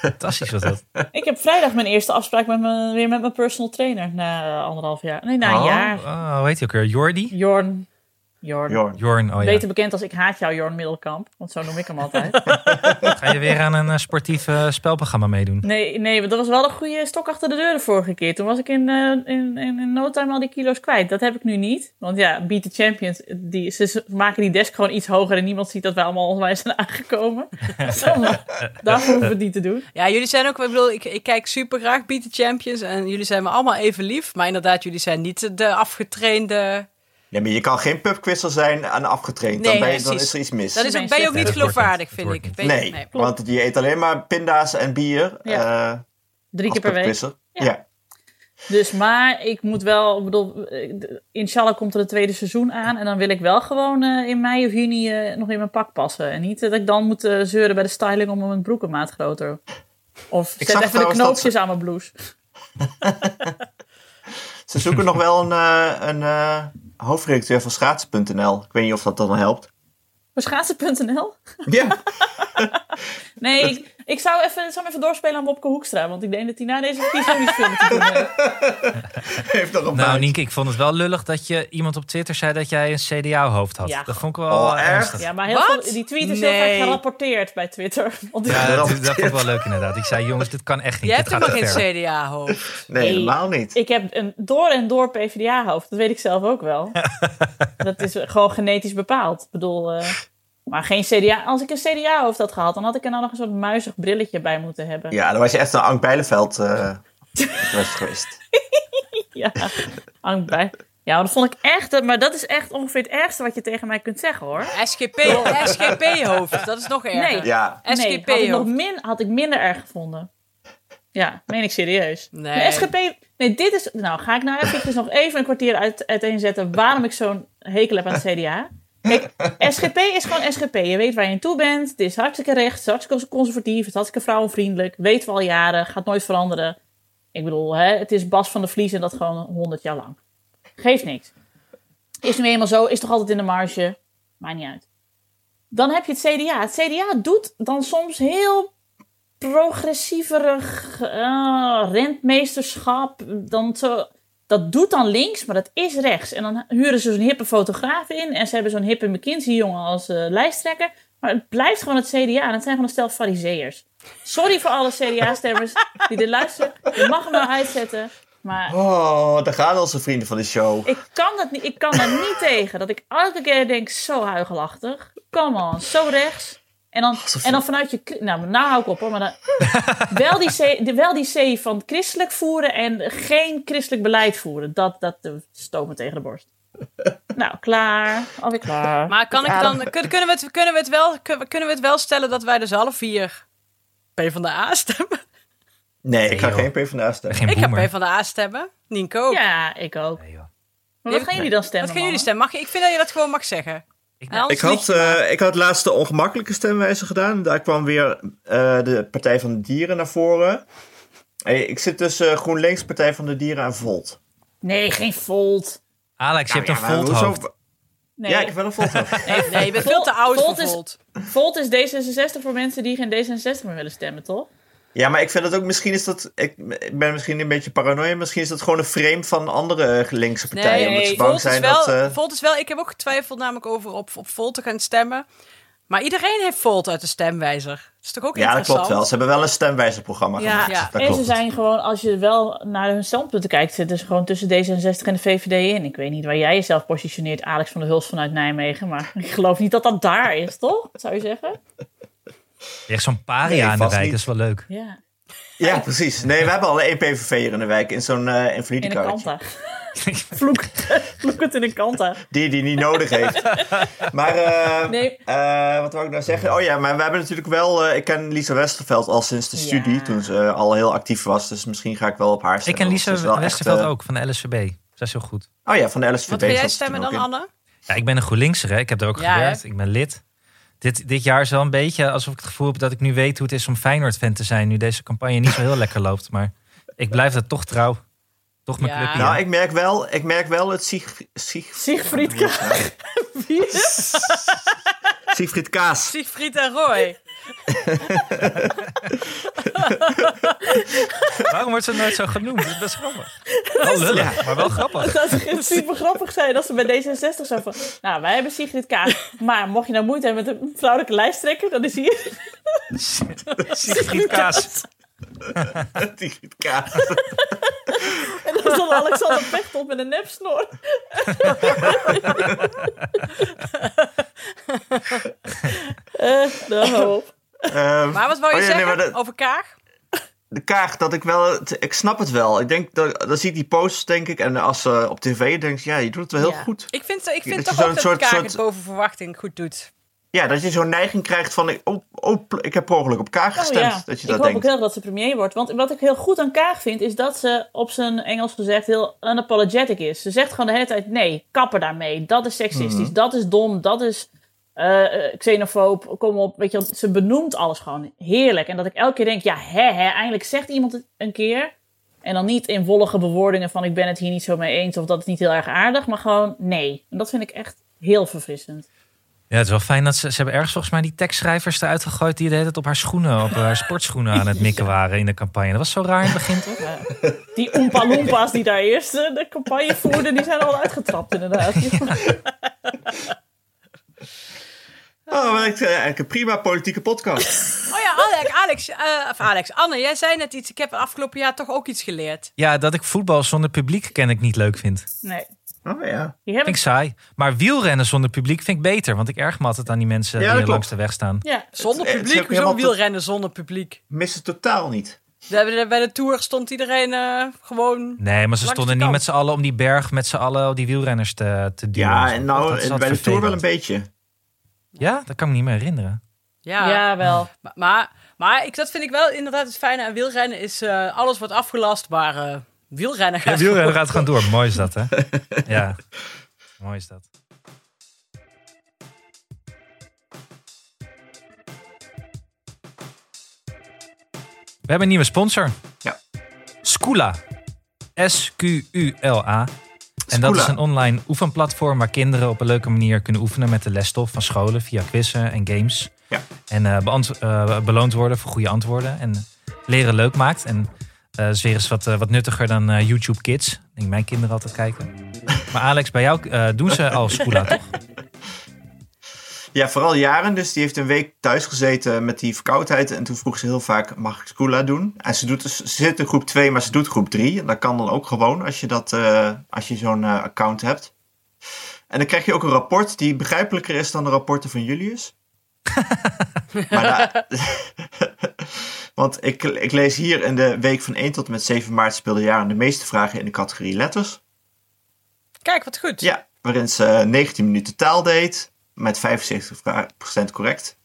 S4: Fantastisch was dat.
S2: Ik heb vrijdag mijn eerste afspraak met mijn, weer met mijn personal trainer. Na eh, anderhalf jaar. Nee, na een
S1: Oh.
S2: jaar.
S4: Oh, hoe heet hij ook weer? Jordi?
S2: Jorn. Jorn.
S1: Jorn.
S4: Jorn, oh ja.
S2: Beter bekend als ik haat jou, Jorn Middelkamp. Want zo noem ik hem altijd.
S4: Ga je weer aan een eh, sportief eh, spelprogramma meedoen?
S2: nee, nee, want dat was wel een goede stok achter de deur de vorige keer. Toen was ik in, eh, in, in, in no time al die kilo's kwijt. Dat heb ik nu niet. Want ja, Beat the Champions. Die, ze ze maken die desk gewoon iets hoger. En niemand ziet dat wij allemaal onwijs zijn aangekomen. Dus dan- Daarvoor hoeven we het niet te doen.
S3: Ja, jullie zijn ook, ik bedoel, ik, ik kijk super graag Beat the Champions en jullie zijn me allemaal even lief. Maar inderdaad, jullie zijn niet de afgetrainde.
S1: Nee, maar je kan geen pubquizzer zijn en afgetraind. dan,
S3: Nee,
S1: ben je- dan
S3: precies.
S1: is er iets mis.
S3: Dat is ook, ben je ook niet
S4: Dat wordt
S3: geloofwaardig,
S4: het.
S3: vind
S4: Dat
S3: ik.
S4: wordt
S3: Ben je-
S1: nee, want je eet alleen maar pinda's en bier.
S2: Ja.
S1: eh,
S2: Drie
S1: als
S2: keer per week.
S1: pubquizzer.
S2: Ja.
S1: Ja.
S2: Dus, maar ik moet wel, ik bedoel, eh, inshallah komt er het tweede seizoen aan. En dan wil ik wel gewoon eh, in mei of juni eh, nog in mijn pak passen. En niet dat ik dan moet eh, zeuren bij de styling om mijn broekenmaat groter. Of
S1: Ik
S2: zet
S1: zag
S2: even de
S1: trouwens dat
S2: knoopjes aan mijn blouse.
S1: Ze zoeken nog wel een, eh, een eh, hoofdredacteur van schaatsen.nl. Ik weet niet of dat dan helpt.
S2: Voor schaatsen.nl?
S1: Ja,
S2: Nee, ik, ik zou, even, ik zou hem even doorspelen aan Mopke Hoekstra. Want ik denk dat hij na deze verkiezing niet veel te doen heeft.
S1: heeft nog een
S4: Nou,
S1: baantje.
S4: Nienke, ik vond het wel lullig dat je iemand op Twitter zei dat jij een CDA-hoofd had.
S2: Ja.
S4: Dat vond ik wel
S1: Oh,
S4: eh,
S1: erg?
S4: ernstig.
S2: Ja, maar heel
S3: Wat?
S2: veel, die tweet is heel
S3: Nee.
S2: vaak gerapporteerd bij Twitter. Want
S4: Ja, dat,
S1: Ja.
S4: dat vond ik wel leuk inderdaad. Ik zei, jongens, dit kan echt niet.
S3: Je hebt
S4: dit gaat
S3: helemaal
S4: te ver.
S3: geen CDA-hoofd.
S1: Nee, helemaal niet.
S2: Ik heb een door en door PvdA-hoofd. Dat weet ik zelf ook wel. dat is gewoon genetisch bepaald. Ik bedoel, eh, maar geen CDA. Als ik een CDA-hoofd had gehad, dan had ik er nou nog een soort muizig brilletje bij moeten hebben.
S1: Ja, dan was je echt een Ank Bijleveld eh, was geweest.
S2: Ja, hang bij. Ja, maar dat vond ik echt. Maar dat is echt ongeveer het ergste wat je tegen mij kunt zeggen hoor.
S3: SGP, SGP-hoofd, dat is nog erger.
S2: Nee.
S1: Ja,
S2: nee,
S3: SGP
S2: had ik, nog
S3: hoofd.
S2: min, had ik minder erg gevonden. Ja, meen ik serieus.
S3: Nee.
S2: De SGP... Nee, dit is... dus Nou, ga ik nou eventjes nog even een kwartier uit, uiteenzetten... waarom ik zo'n hekel heb aan het CDA. Kijk, SGP is gewoon SGP. Je weet waar je aan toe bent. Het is hartstikke rechts, het is hartstikke conservatief, het is hartstikke vrouwenvriendelijk. Weten we al jaren, gaat nooit veranderen. Ik bedoel, hè, het is Bas van de Vlies en dat gewoon 100 jaar lang. Geeft niks. Is nu eenmaal zo, is toch altijd in de marge. Maakt niet uit. Dan heb je het CDA. Het CDA doet dan soms heel progressieverig eh, rentmeesterschap. Dan zo, dat doet dan links, maar dat is rechts. En dan huren ze zo'n hippe fotograaf in. En ze hebben zo'n hippe McKinsey-jongen als eh, lijsttrekker. Maar het blijft gewoon het CDA. En het zijn gewoon een stel fariseërs. Sorry voor alle CDA-stemmers die dit luisteren. Je mag hem wel uitzetten. Maar
S1: Oh, daar gaan onze vrienden van de show.
S2: ik kan, dat niet, ik kan daar niet tegen. Dat ik elke keer denk, zo huigelachtig. Come on, zo rechts. En dan, en dan vanuit je... kri- Nou, nou hou ik op hoor. Maar dan, wel, die C, de- wel die C van christelijk voeren en geen christelijk beleid voeren. Dat, dat eh, stoot me tegen de borst. Nou, klaar. Alweer klaar.
S3: Maar kan ik dan, kun- kunnen, we het, kunnen, we het wel, kun- kunnen we het wel stellen dat wij dus alle vier PvdA stemmen?
S1: Nee, ik ga
S4: Nee, joh.
S1: geen PvdA stemmen.
S4: Geen
S3: Ik ga
S4: boemer.
S3: PvdA stemmen. Nienko ook.
S2: ja, ik ook.
S4: Nee, joh.
S2: Maar wat gaan jullie dan stemmen?
S3: Wat gaan jullie
S2: mannen?
S3: stemmen? Mag, je- ik vind dat je dat gewoon mag zeggen. Nou,
S4: Ik-
S3: En anders
S1: Ik had,
S3: lieg je maar.
S1: eh, ik had laatst de ongemakkelijke stemwijze gedaan. Daar kwam weer eh, de Partij van de Dieren naar voren. Hey, ik zit tussen eh, GroenLinks, Partij van de Dieren en Volt.
S2: Nee, geen Volt.
S4: Alex, Dus je
S1: Nou
S4: hebt
S1: ja,
S4: een
S1: maar
S4: volt
S1: hoezo-
S4: hoofd.
S2: Nee.
S1: Ja, ik heb wel een Volt. hoofd.
S3: Nee, nee, je bent veel te oud
S2: Volt
S3: voor
S2: is-
S3: Volt.
S2: Volt is D66 voor mensen die geen D66 meer willen stemmen, toch?
S1: ja, maar ik vind dat ook, misschien is dat, ik, ik ben misschien een beetje paranoia. Misschien is dat gewoon een frame van andere eh, linkse partijen.
S3: Nee,
S1: omdat ze
S2: nee,
S1: bang
S3: Volt is,
S1: zijn
S3: wel,
S1: dat... eh,
S3: Volt is wel... Ik heb ook getwijfeld namelijk over op, op Volt te gaan stemmen. Maar iedereen heeft Volt uit de stemwijzer. Dat is toch ook
S1: ja, dat
S3: interessant?
S1: klopt wel. Ze hebben wel een stemwijzerprogramma
S3: Ja,
S1: gemaakt.
S3: ja.
S1: Dat
S2: en
S1: klopt.
S2: ze zijn gewoon, als je wel naar hun standpunten kijkt, zitten ze gewoon tussen D66 en de VVD in. Ik weet niet waar jij jezelf positioneert, Alex van der Hulst vanuit Nijmegen. Maar ik geloof niet dat dat daar is, toch? Zou je zeggen?
S4: Je hebt zo'n paria
S1: Nee,
S4: aan de
S1: vast
S4: wijk,
S1: niet.
S4: dat is wel leuk.
S2: Ja,
S1: Ja, precies. Nee, we hebben al één PVV'er in de wijk in zo'n eh
S2: in een
S1: invalidekaartje.
S2: kanta. Vloek, vloek het in een kanta.
S1: Die die niet nodig heeft. Maar eh,
S2: Nee.
S1: eh, wat wou ik nou zeggen? Oh ja, maar we hebben natuurlijk wel... eh, ik ken Lisa Westerveld al sinds de
S2: Ja.
S1: studie, toen ze eh, al heel actief was. Dus misschien ga ik wel op haar
S4: Ik
S1: stemmen.
S4: ken
S1: want ze is wel
S4: Lisa
S1: echt,
S4: Westerveld
S1: eh,
S4: ook, van de LSVB. Zij is heel goed.
S1: Oh ja, van de LSVB.
S3: Wat wil jij
S1: zat ze
S3: stemmen
S1: toen
S3: dan,
S1: ook in.
S3: Anne?
S4: Ja, ik ben een GroenLinkser, hè. ik heb er ook
S3: Ja,
S4: gewerkt. Ik ben lid. Dit, dit jaar is wel een beetje alsof ik het gevoel heb dat ik nu weet hoe het is om Feyenoord-fan te zijn. Nu deze campagne niet zo heel lekker loopt. Maar ik blijf dat toch trouw. Toch mijn
S3: Ja.
S4: clubje.
S1: Nou, ik merk wel, ik merk wel het Sieg, Sieg,
S2: Siegfried Kaag. Wie is-
S1: Siegfried Kaas.
S3: Siegfried en Roy.
S4: Waarom wordt ze nooit zo genoemd? Dat is best grappig. Wel lullig, maar wel grappig.
S2: Dat zou super grappig zijn als ze bij D66 zo van... Nou, wij hebben Sigrid Kaag. Maar mocht je nou moeite hebben met een vrouwelijke lijsttrekker, dan is hier...
S4: Siegfried Kaas.
S1: Siegfried Kaas.
S2: En dat is dan Alexander Pechtold met een nepsnor. Eh, nou, hou op.
S1: Ehm,
S3: Maar wat wou je
S1: oh ja, nee,
S3: zeggen
S1: maar dat-
S3: over Kaag?
S1: de kaag dat ik wel. het- Ik snap het wel. Ik denk dat. Dan zie ik die posts, denk ik. En als ze op tv denkt, ja, je doet het wel heel
S2: Ja.
S1: goed.
S3: Ik vind, ik vind
S1: dat je
S3: toch ook
S1: zo'n
S3: dat
S1: soort-
S3: Kaag
S1: soort-
S3: het boven verwachting goed doet.
S1: Ja, dat je zo'n neiging krijgt van. Oh, oh, pl- ik heb per ongeluk op kaag
S2: Oh,
S1: gestemd.
S2: ja.
S1: Dat je
S2: ik
S1: dat
S2: hoop
S1: denkt.
S2: ook heel dat ze premier wordt. Want wat ik heel goed aan Kaag vind, is dat ze op zijn Engels gezegd heel unapologetic is. Ze zegt gewoon de hele tijd, nee, kapper daarmee. Dat is seksistisch,
S1: Mhm.
S2: dat is dom, dat is eh, eh, xenofoob, kom op. Weet je, wel, ze benoemt alles gewoon heerlijk. En dat ik elke keer denk, ja, hè, hè, eindelijk zegt iemand het een keer. En dan niet in wollige bewoordingen van ik ben het hier niet zo mee eens of dat is niet heel erg aardig. Maar gewoon nee. En dat vind ik echt heel verfrissend.
S4: Ja, het is wel fijn dat ze, ze hebben ergens volgens mij die tekstschrijvers eruit gegooid... die de hele tijd op haar schoenen, op haar sportschoenen aan het mikken waren in de campagne. Dat was zo raar in het begin, toch?
S2: Ja. Die Oompa Loompas die daar eerst eh, de campagne voerden, die zijn al uitgetrapt inderdaad.
S1: Oh, maar ik, eh, eigenlijk een prima politieke podcast.
S3: Oh ja, Alex, Alex, eh, of Alex, Anne, jij zei net iets. Ik heb het afgelopen jaar toch ook iets geleerd.
S4: Ja, dat ik voetbal zonder publiek ken ik niet leuk vind.
S2: Nee,
S1: oh ja.
S2: die heb
S4: Vind
S2: ik.
S4: ik saai. Maar wielrennen zonder publiek vind ik beter. Want ik erg me altijd aan die mensen
S1: Ja,
S4: die
S1: dat
S4: er langs
S1: klopt.
S4: de weg staan.
S2: Ja,
S3: Zonder
S1: Het- het is
S3: publiek?
S1: ook
S3: Hoezo
S1: helemaal te-
S3: wielrennen zonder publiek?
S1: Mis het totaal niet.
S3: Daar hebben we- Bij de Tour stond iedereen eh, gewoon...
S4: Nee, maar ze
S3: de
S4: stonden niet
S3: kant.
S4: met z'n allen om die berg... met z'n allen die wielrenners te, te duwen.
S1: Ja, en
S4: Dat
S1: nou,
S4: is
S1: en
S4: altijd
S1: bij de tour wel een
S4: vervelend.
S1: beetje.
S4: Ja, dat kan ik me niet meer herinneren.
S3: Ja,
S2: ja. wel.
S3: Maar- Maar, maar ik, dat vind ik wel inderdaad het fijne aan wielrennen is eh, alles wordt afgelast, maar eh, wielrennen
S4: Ja,
S3: gaat.
S4: wielrennen gaat gewoon door. Mooi is dat, hè? Ja, mooi is dat. We hebben een nieuwe sponsor.
S1: Ja.
S4: Skoola. S-Q-U-L-A. En dat
S1: Skoola.
S4: is een online oefenplatform waar kinderen op een leuke manier kunnen oefenen met de lesstof van scholen via quizzen en games.
S1: Ja.
S4: En eh, beant- eh, beloond worden voor goede antwoorden en leren leuk maakt. En eh is weer eens wat, eh, wat nuttiger dan eh, YouTube Kids. Ik denk mijn kinderen altijd kijken. Maar Alex, bij jou eh, doen ze al Skoola, toch?
S1: Ja, vooral Jaren dus. Die heeft een week thuis gezeten met die verkoudheid. En toen vroeg ze heel vaak, mag ik Skoola doen? En ze, doet dus, ze zit in groep 2, maar ze doet groep 3. En dat kan dan ook gewoon als je, dat, eh, als je zo'n eh, account hebt. En dan krijg je ook een rapport die begrijpelijker is dan de rapporten van Julius. maar da- Want ik, ik lees hier in de week van 1 tot en met 7 maart speelde Jaren de meeste vragen in de categorie letters.
S3: Kijk, wat goed.
S1: Ja, waarin ze eh, 19 minuten taal deed, met 75% correct.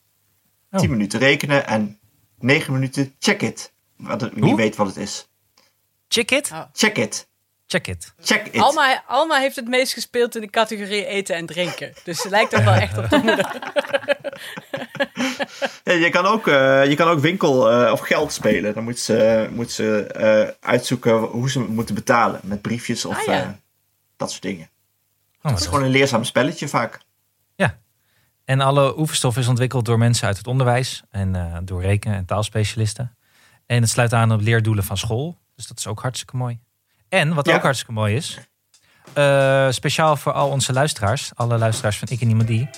S4: Oh.
S1: 10 minuten rekenen en 9 minuten check it. Wat, wie
S4: Hoe?
S1: weet wat het is.
S4: Check it.
S1: Check it.
S4: Check it.
S1: Check it.
S3: Alma, Alma heeft het meest gespeeld in de categorie eten en drinken. Dus ze lijkt ook wel echt op de moeder.
S1: Ja, je, kan ook, eh, je kan ook winkel eh, of geld spelen. Dan moet ze, moet ze eh, uitzoeken hoe ze moeten betalen. Met briefjes of
S3: Ah, ja.
S1: eh, dat soort dingen.
S4: Oh,
S1: Het is gewoon een leerzaam spelletje vaak.
S4: En alle oefenstof is ontwikkeld door mensen uit het onderwijs en eh, door reken- en taalspecialisten. En het sluit aan op leerdoelen van school. Dus dat is ook hartstikke mooi. En wat
S1: Ja.
S4: ook hartstikke mooi is, eh, speciaal voor al onze luisteraars, alle luisteraars van Ik en Niemand Die,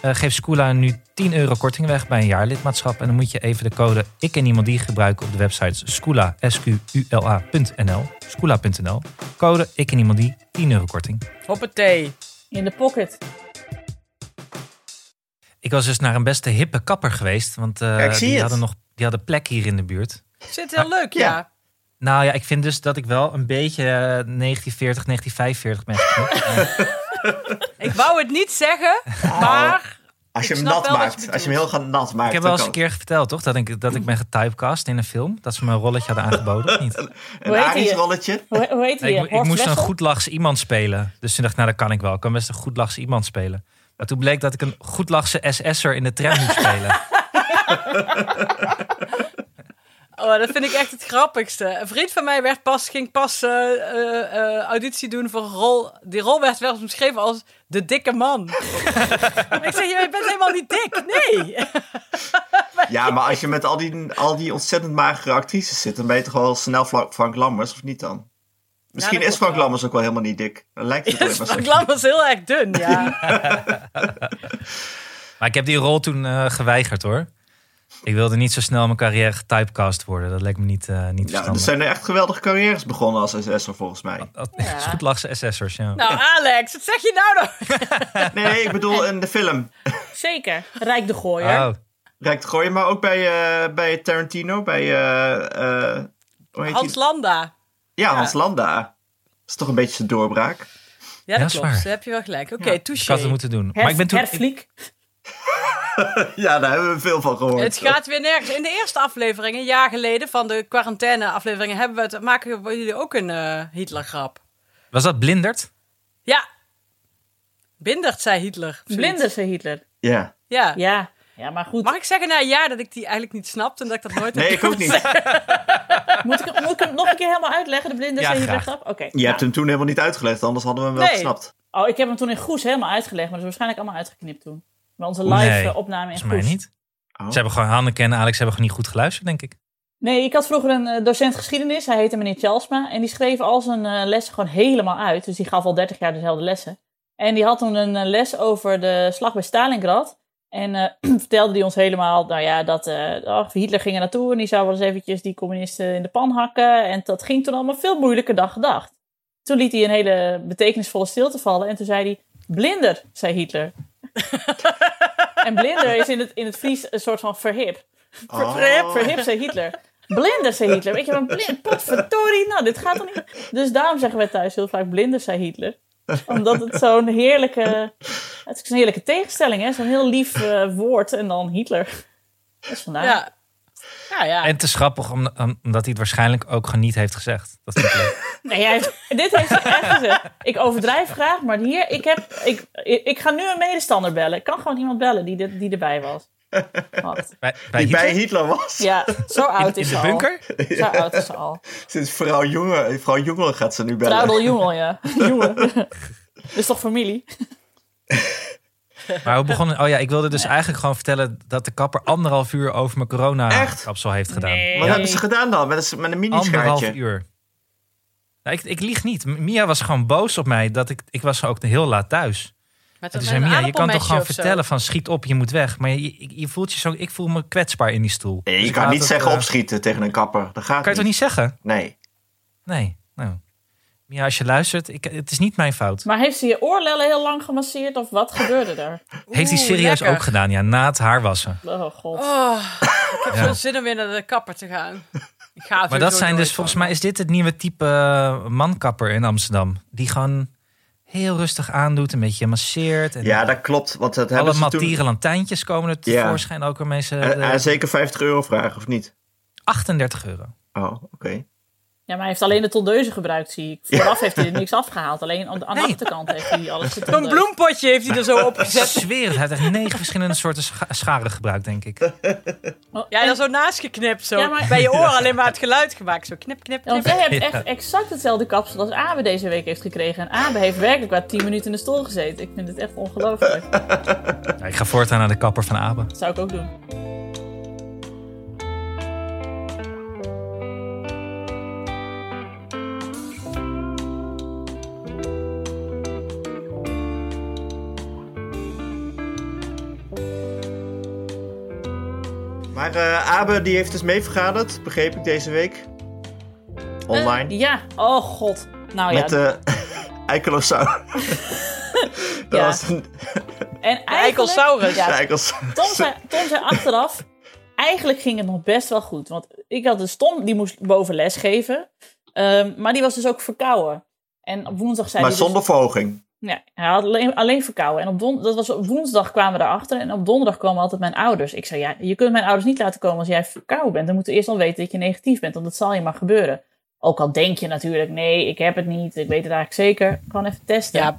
S4: eh, geeft Skoola nu 10 euro korting weg bij een jaar lidmaatschap. En dan moet je even de code Ik en Niemand Die gebruiken op de website skoola, S-Q-U-L-A.nl, skoola.nl. Code Ik en Niemand Die, 10 euro korting.
S3: Hoppatee.
S2: In de pocket.
S4: Ik was dus naar een beste hippe kapper geweest. Want eh,
S1: Kijk, zie
S4: die,
S1: het.
S4: hadden nog, die hadden plek hier in de buurt.
S3: Zit heel leuk, ja.
S1: Ja.
S4: Nou ja, ik vind dus dat ik wel een beetje eh, 1940, 1945 ben geknipt. Eh,
S3: Ik wou het niet zeggen, maar...
S1: Als je
S3: Ik
S1: hem
S3: snap
S1: nat
S3: wel wat je
S1: maakt. Als je hem
S3: bedoelt.
S1: heel gaan nat maakt.
S4: ik
S1: dan
S4: heb wel eens
S1: kan
S4: een keer verteld, toch? Dat ik, dat ik ben getypecast in een film. Dat ze me een rolletje hadden aangeboden, of niet?
S1: het. Een
S2: Hoe heet hij?
S1: Arisch rolletje.
S2: Hoe, hoe heet die?
S4: Nee, ik, mo- ik
S2: Horst
S4: moest een
S2: Wessel?
S4: goedlachs iemand spelen. Dus toen dacht ik, nou dat kan ik wel. Ik kan best een goedlachs iemand spelen. Maar toen bleek dat ik een goedlachse SS'er in de tram moest spelen.
S3: Oh, dat vind ik echt het grappigste. Een vriend van mij werd pas, ging pas eh, eh, eh, auditie doen voor een rol. Die rol werd wel eens omschreven als de dikke man. ik zeg, je bent helemaal niet dik. Nee.
S1: Ja, maar als je met al die, al die ontzettend magere actrices zit, dan ben je toch wel snel Fla- Frank Lammers, of niet dan? Misschien
S3: dat
S1: is
S3: klopt
S1: Frank
S3: wel.
S1: Lammers ook wel helemaal niet dik. Dan lijkt het alleen maar zo.
S3: Frank Lam was heel erg dun, ja.
S4: Maar ik heb die rol toen eh, geweigerd, hoor. Ik wilde niet zo snel mijn carrière getypecast worden. Dat leek me niet, eh niet
S1: Ja,
S4: verstandig.
S1: er zijn er echt geweldige carrières begonnen als SS'er volgens mij.
S4: Dat is goed lachse SS'ers, ja.
S3: Nou, Alex, wat zeg je nou nog?
S1: Nee, ik bedoel in de film.
S2: Zeker. Rijk de Gooier.
S4: Oh,
S1: Rijk gooien, maar ook bij, eh, bij Tarantino, bij eh, eh, hoe heet
S3: Hans
S1: die?
S3: Landa.
S1: Ja, Hans Landa. Dat is toch een beetje zijn doorbraak.
S3: Ja,
S4: Ja,
S3: dat
S4: is
S3: klopt.
S4: waar.
S3: Daar heb je wel gelijk. Oké,
S4: ik
S3: touché.
S4: had het moeten doen.
S2: Herf,
S4: maar ik ben toen...
S2: Herfliek.
S1: Ja, daar hebben we veel van gehoord.
S3: Het gaat weer nergens. In de eerste aflevering, een jaar geleden, van de quarantaine-afleveringen, hebben we het, maken we jullie ook een eh Hitler-grap.
S4: Was dat blinderd?
S3: Ja. Bindert, zei Hitler. of zoiets.
S2: Blinder ze Hitler.
S1: Ja.
S3: Ja.
S2: Ja. ja, maar goed.
S3: Mag ik zeggen na een jaar dat ik die eigenlijk niet snapte en dat ik dat nooit
S1: Nee,
S3: heb
S1: ik ook
S3: kunnen
S1: niet.
S3: zeggen?
S2: Moet ik, hem- moet ik hem nog een keer helemaal uitleggen, de blinder
S4: Ja,
S2: ze Hitler
S4: graag.
S2: grap? Oké.
S1: Je hebt hem toen helemaal niet uitgelegd, anders hadden we hem wel
S3: Nee.
S1: gesnapt.
S2: Oh, ik heb hem toen in Goes helemaal uitgelegd, maar dat is waarschijnlijk allemaal uitgeknipt toen. Maar onze
S4: Nee,
S2: live eh, opname in
S4: Volgens mij
S2: Goes.
S4: niet.
S1: Oh.
S4: Ze hebben gewoon Hanneke en Alex hebben gewoon niet goed geluisterd, denk ik.
S2: Nee, ik had vroeger een eh, docent geschiedenis, hij heette meneer Chelsma. En die schreef al zijn eh, lessen gewoon helemaal uit. Dus die gaf al 30 jaar dezelfde lessen. En die had toen een eh, les over de slag bij Stalingrad. En eh, vertelde die ons helemaal, nou ja, dat eh, ach, Hitler ging er naartoe en die zou wel eens eventjes die communisten in de pan hakken. En dat ging toen allemaal veel moeilijker dan gedacht. Toen liet hij een hele betekenisvolle stilte vallen en toen zei hij, blinder, zei Hitler. en blinder is in het, in het Fries een soort van verhip.
S1: Oh.
S2: Verhip, verhip, zei Hitler. Blinder, zei Hitler. Weet je wel, blind, potverdorie, nou, dit gaat toch niet. Dus daarom zeggen wij thuis heel vaak blinder, zei Hitler. Omdat het zo'n heerlijke, het is een heerlijke tegenstelling, hè. Zo'n heel lief eh, woord en dan Hitler. Dus vandaar.
S3: Ja. Ja, ja.
S4: En te grappig, om- om- omdat hij het waarschijnlijk ook gewoon niet heeft gezegd. Dat vind ik leuk.
S2: Nee, hij heeft- dit heeft hij echt gezegd. Ik overdrijf graag, maar hier, ik heb, ik, ik, ik ga nu een medestander bellen. Ik kan gewoon iemand bellen die, dit- die erbij was. Wacht.
S4: Bij, bij
S1: Die bij
S4: Hitler?
S1: Hitler was.
S2: Ja, zo oud
S4: in
S2: is
S4: de
S2: ze
S4: bunker?
S2: al. Zo oud is ze al.
S1: Sinds vrouw Jongen, vrouw Jongen gaat ze nu bellen.
S2: Traudel jongel, ja. Jongen. Dat is toch familie?
S4: Maar we begonnen. Oh ja, ik wilde dus eigenlijk gewoon vertellen dat de kapper anderhalf uur over mijn
S1: Echt?
S4: corona-kapsel heeft gedaan.
S2: Nee.
S1: Wat
S4: Ja,
S1: hebben ze gedaan dan? Met een, met een
S4: anderhalf
S1: minischaartje?
S4: uur. Nou, ik, ik lieg niet. M- Mia was gewoon boos op mij dat ik. Ik was ook heel laat thuis.
S3: Met, een-
S4: En toen zei
S3: met een
S4: Mia, je kan toch
S3: aardappelmesje
S4: gewoon
S3: of zo?
S4: vertellen van schiet op, je moet weg. Maar je, je, je voelt je zo. Ik voel me kwetsbaar in die stoel.
S1: Nee,
S4: Dus
S1: je
S4: ik
S1: kan
S4: laat
S1: niet
S4: het,
S1: zeggen
S4: eh,
S1: opschieten tegen een kapper. Dat gaat
S4: Kan je toch niet zeggen?
S1: Nee.
S4: Nee. Nou. Mia, als je luistert, ik, het is niet mijn fout.
S2: Maar heeft ze je oorlellen heel lang gemasseerd of wat gebeurde er?
S4: Heeft hij
S3: Oeh,
S4: serieus
S3: lekker.
S4: ook gedaan, ja, na het haar wassen.
S2: Oh god.
S3: Oh, ik heb
S4: Ja.
S3: veel zin om weer naar de kapper te gaan. Ik ga
S4: Maar dat zijn dus, volgens mij is dit het nieuwe type eh, mankapper in Amsterdam. Die gewoon heel rustig aandoet, een beetje masseert. En
S1: Ja, dat klopt. Want dat
S4: alle
S1: hebben ze toen...
S4: matieren lantijntjes komen er
S1: Ja.
S4: tevoorschijn ook waarmee ze...
S1: Eh,
S4: de-
S1: eh, zeker 50 euro vragen, of niet?
S4: 38 euro.
S1: Oh, oké.
S2: Ja, maar hij heeft alleen de tondeuze gebruikt, zie ik. Vooraf heeft hij er niks afgehaald. Alleen aan de, aan de
S4: Nee.
S2: achterkant heeft hij alles
S3: Zo'n
S2: getondeuzen.
S3: bloempotje heeft hij er zo
S4: Ik
S3: opgezet.
S4: zweer het, hij heeft echt negen verschillende soorten scha- scharen gebruikt, denk ik.
S2: Oh,
S3: Ja, en
S2: en-
S3: dan zo naast geknipt. Zo.
S2: Ja, maar-
S3: Bij je oor alleen maar het geluid gemaakt. Zo knip, knip,
S2: Ja, want
S3: knip.
S2: jij hebt echt exact hetzelfde kapsel als Abe deze week heeft gekregen. En Abe heeft werkelijk maar 10 minuten in de stoel gezeten. Ik vind het echt ongelooflijk. Dat
S4: Ja, ik ga voortaan naar de kapper van Abe.
S2: zou ik ook doen.
S1: Maar eh, Abe die heeft dus meevergaderd, begreep ik deze week. Online.
S2: Eh, ja. Oh god. Nou ja.
S1: Met eh, de Eikelosau. dat
S2: Ja.
S1: was een
S2: en
S3: eikelsaurus.
S2: Ja,
S1: Eikelosau.
S2: Tom zei, Tom zei achteraf, eigenlijk ging het nog best wel goed. Want ik had dus Tom, die moest boven les geven. Ehm, maar die was dus ook verkouden. En op woensdag zei
S1: Maar
S2: hij dus-
S1: zonder verhoging.
S2: ja, hij had alleen, alleen verkouden. En op, don, dat was op woensdag kwamen we erachter. En op donderdag kwamen altijd mijn ouders. Ik zei, ja, je kunt mijn ouders niet laten komen als jij verkouden bent. Dan moeten we eerst al weten dat je negatief bent. Want dat zal je maar gebeuren. Ook al denk je natuurlijk, nee, ik heb het niet. Ik weet het eigenlijk zeker. Gewoon even testen.
S3: Ja.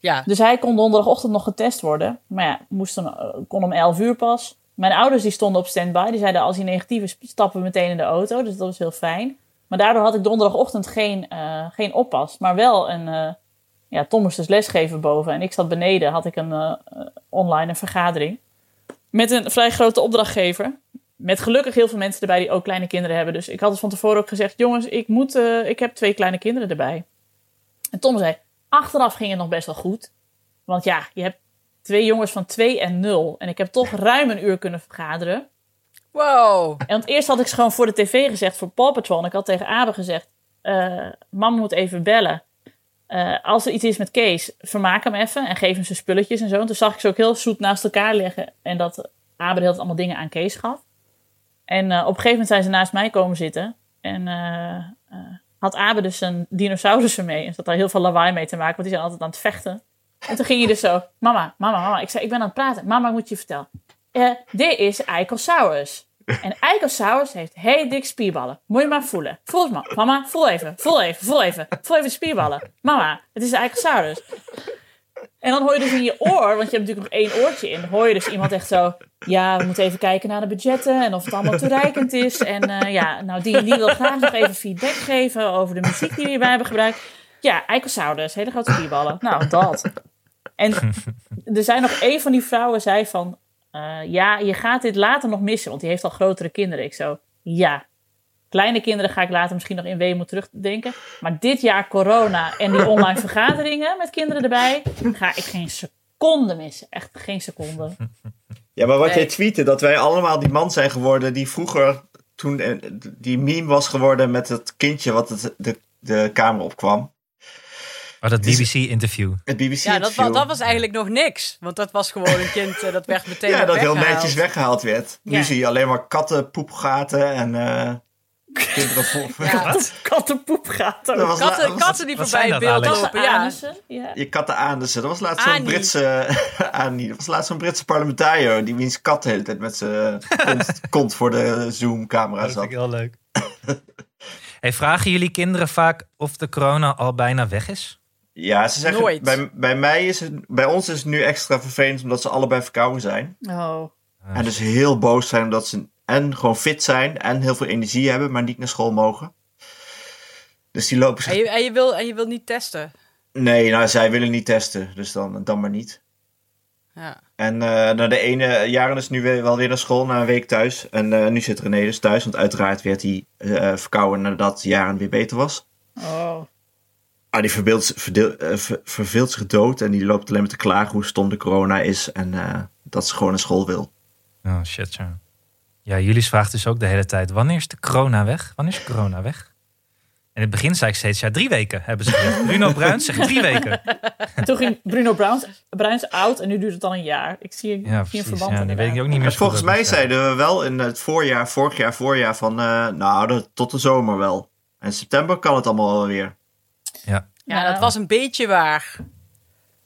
S3: Ja.
S2: Dus hij kon donderdagochtend nog getest worden. Maar ja, moest dan, eh, kon om 11 uur pas. Mijn ouders die stonden op standby. Die zeiden als hij negatief is, stappen we meteen in de auto. Dus dat was heel fijn. Maar daardoor had ik donderdagochtend geen, eh, geen oppas. Maar wel een... eh, ja, Tom moest dus lesgeven boven. En ik zat beneden, had ik een eh, eh, online een vergadering. Met een vrij grote opdrachtgever. Met gelukkig heel veel mensen erbij die ook kleine kinderen hebben. Dus ik had het van tevoren ook gezegd... jongens, ik, moet, eh, ik heb twee kleine kinderen erbij. En Tom zei... achteraf ging het nog best wel goed. Want ja, je hebt twee jongens van 2 en 0. En ik heb toch ruim een uur kunnen vergaderen.
S3: Wow.
S2: En want eerst had ik ze gewoon voor de tv gezegd voor Paw Patrol. En ik had tegen Abe gezegd: eh Mam moet even bellen. Eh, als er iets is met Kees, vermaak hem even en geef hem zijn spulletjes en zo. En toen zag ik ze ook heel zoet naast elkaar liggen. En dat Abe de hele tijd allemaal dingen aan Kees gaf. En eh, op een gegeven moment zijn ze naast mij komen zitten. En eh, eh, had Abe dus een dinosaurussen mee. En zat daar heel veel lawaai mee te maken, want die zijn altijd aan het vechten. En toen ging hij dus zo: Mama, mama, mama. Ik zei: Ik ben aan het praten. Mama, ik moet je vertellen. Eh, dit is Eikosaurus. En Eikosaurus heeft heel dik spierballen. Moet je maar voelen. Voel het maar. Mama, voel even. Voel even. Voel even. Voel even de spierballen. Mama, het is een Eikosaurus. En dan hoor je dus in je oor, want je hebt natuurlijk nog één oortje in, hoor je dus iemand echt zo. Ja, we moeten even kijken naar de budgetten en of het allemaal toereikend is. En eh, ja, nou, die, en die wil graag nog even feedback geven over de muziek die we hierbij hebben gebruikt. Ja, Eikosaurus, hele grote spierballen. Nou, dat. En er zijn nog één van die vrouwen zei van, eh, ja, je gaat dit later nog missen, want die heeft al grotere kinderen. Ik zo, ja. Kleine kinderen ga ik later misschien nog in weemoed terugdenken. Maar dit jaar corona en die online vergaderingen met kinderen erbij, ga ik geen seconde missen. Echt geen seconde.
S1: Ja, maar wat
S3: Nee.
S1: jij tweette, dat wij allemaal die man zijn geworden die vroeger toen eh, die meme was geworden met het kindje wat het, de, de kamer opkwam.
S4: Oh, dat
S1: Dus-
S4: BBC-interview.
S1: Het BBC
S3: Ja, dat, wa-
S1: interview.
S3: dat was eigenlijk nog niks. Want dat was gewoon een kind. eh, Dat werd meteen
S1: ja,
S3: weer
S1: dat heel
S3: weggehaald.
S1: netjes weggehaald werd.
S2: Ja.
S1: Nu zie je alleen maar katten, poepgaten en eh, kinderen vol.
S3: Ja.
S2: Kattenpoep gaat ook.
S1: was la-
S3: Katten,
S1: was-
S3: katten die
S4: Wat
S3: voorbij
S4: zijn
S3: het
S4: dat,
S3: beeld
S4: Alex?
S3: lopen. Ja.
S2: Anussen, ja.
S1: Je katten aan, dus dat was laatst zo'n
S3: Annie.
S1: Britse. Annie, dat was laatst zo'n Britse parlementariër. Die wiens kat de hele tijd met zijn kont, kont voor de Zoom-camera zat.
S4: heel leuk. Hey, vragen jullie kinderen vaak of de corona al bijna weg is?
S1: Ja, ze zeggen.
S3: Nooit.
S1: Bij, bij, mij is het, bij ons is het nu extra vervelend omdat ze allebei verkouden zijn.
S2: Oh.
S4: Ah,
S1: En dus heel boos zijn omdat ze en gewoon fit zijn en heel veel energie hebben, maar niet naar school mogen. Dus die lopen
S3: En
S1: zich...
S3: je, en je wil, en je wil niet testen.
S1: Nee, nou, zij willen niet testen, dus dan, dan maar niet.
S3: Ja.
S1: En eh, nou, de ene Jaren is nu weer, wel weer naar school, na een week thuis. En eh, nu zit René dus thuis, want uiteraard werd hij eh, verkouden nadat Jaren weer beter was.
S2: Oh.
S1: Ah, die verbeeldt z- verdeel- eh, ver- verveelt zich dood en die loopt alleen maar te klagen hoe stom de corona is en eh, dat ze gewoon naar school wil.
S4: Oh shit, ja. Ja, jullie vraagt dus ook de hele tijd: wanneer is de corona weg? Wanneer is corona weg? In het begin zei ik steeds: ja, drie weken hebben ze gezegd. Bruno Bruins zegt drie weken.
S2: En toen ging Bruno Bruins, Bruins oud en nu duurt het al een jaar. Ik zie,
S4: Ja,
S2: zie een
S4: precies.
S2: verband
S4: Ja, die weet ik
S2: inderdaad.
S4: ook niet meer.
S1: En volgens mij
S4: zijn
S1: zeiden we wel in het voorjaar, vorig jaar, voorjaar van eh, nou, dat- tot de zomer wel. En september kan het allemaal wel weer.
S4: Ja,
S3: Ja, dat was een beetje waar.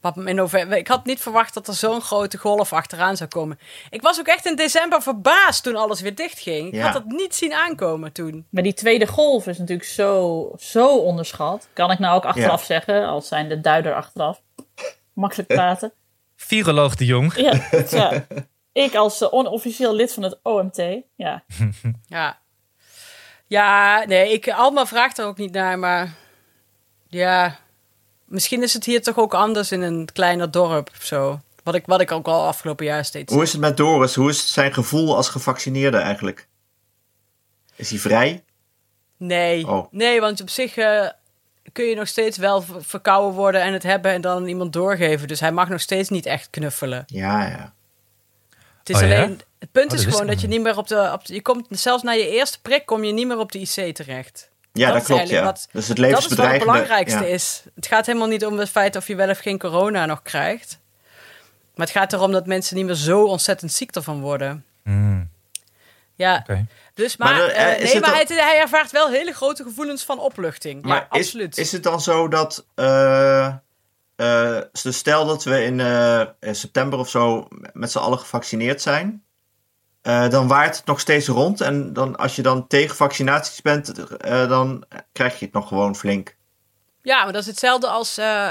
S3: Wat me in november, ik had niet verwacht dat er zo'n grote golf achteraan zou komen. Ik was ook echt in december verbaasd toen alles weer dichtging. Ik
S1: Ja.
S3: had dat niet zien aankomen toen.
S2: Maar die tweede golf is natuurlijk zo, zo onderschat. Kan ik nou ook achteraf
S1: Ja.
S2: zeggen, als zijn de duider achteraf. Makkelijk praten.
S4: viroloog de Jong.
S2: Ja, tja. Ik als eh, onofficieel lid van het OMT. Ja,
S3: Ja, ja nee, ik, Alma vraagt er ook niet naar, maar ja, misschien is het hier toch ook anders in een kleiner dorp of zo. Wat ik, wat ik ook al afgelopen jaar steeds.
S1: Hoe is het met Doris? Hoe is zijn gevoel als gevaccineerde eigenlijk? Is hij vrij?
S3: Nee,
S1: Oh.
S3: nee, want op zich eh, kun je nog steeds wel v- verkouden worden en het hebben en dan iemand doorgeven. Dus hij mag nog steeds niet echt knuffelen.
S1: Ja, ja.
S3: Het is
S4: Oh ja?
S3: alleen. Het punt
S4: dat
S3: is
S4: wist
S3: gewoon
S4: ik
S3: dat je niet meer op de, op de- Je komt zelfs na je eerste prik kom je niet meer op de IC terecht.
S1: Ja, dat,
S3: is
S1: klopt.
S3: eigenlijk
S1: Ja.
S3: wat-
S1: dus het
S3: dat is wat het
S1: levensbedreigende.
S3: belangrijkste
S1: ja.
S3: is. Het gaat helemaal niet om het feit of je wel of geen corona nog krijgt. Maar het gaat erom dat mensen niet meer zo ontzettend ziek ervan worden.
S4: Hmm,
S3: Ja,
S4: oké.
S3: dus maar,
S1: Maar dan, eh,
S3: eh,
S1: is
S3: nee,
S1: het
S3: maar
S1: dan-
S3: hij, hij ervaart wel hele grote gevoelens van opluchting.
S1: Maar
S3: ja,
S1: is,
S3: absoluut.
S1: is het dan zo dat. eh, eh, dus stel dat we in eh, eh, september of zo met z'n allen gevaccineerd zijn. eh, dan waait het nog steeds rond. En dan, als je dan tegen vaccinaties bent, eh, dan krijg je het nog gewoon flink.
S3: Ja, maar dat is hetzelfde als. eh,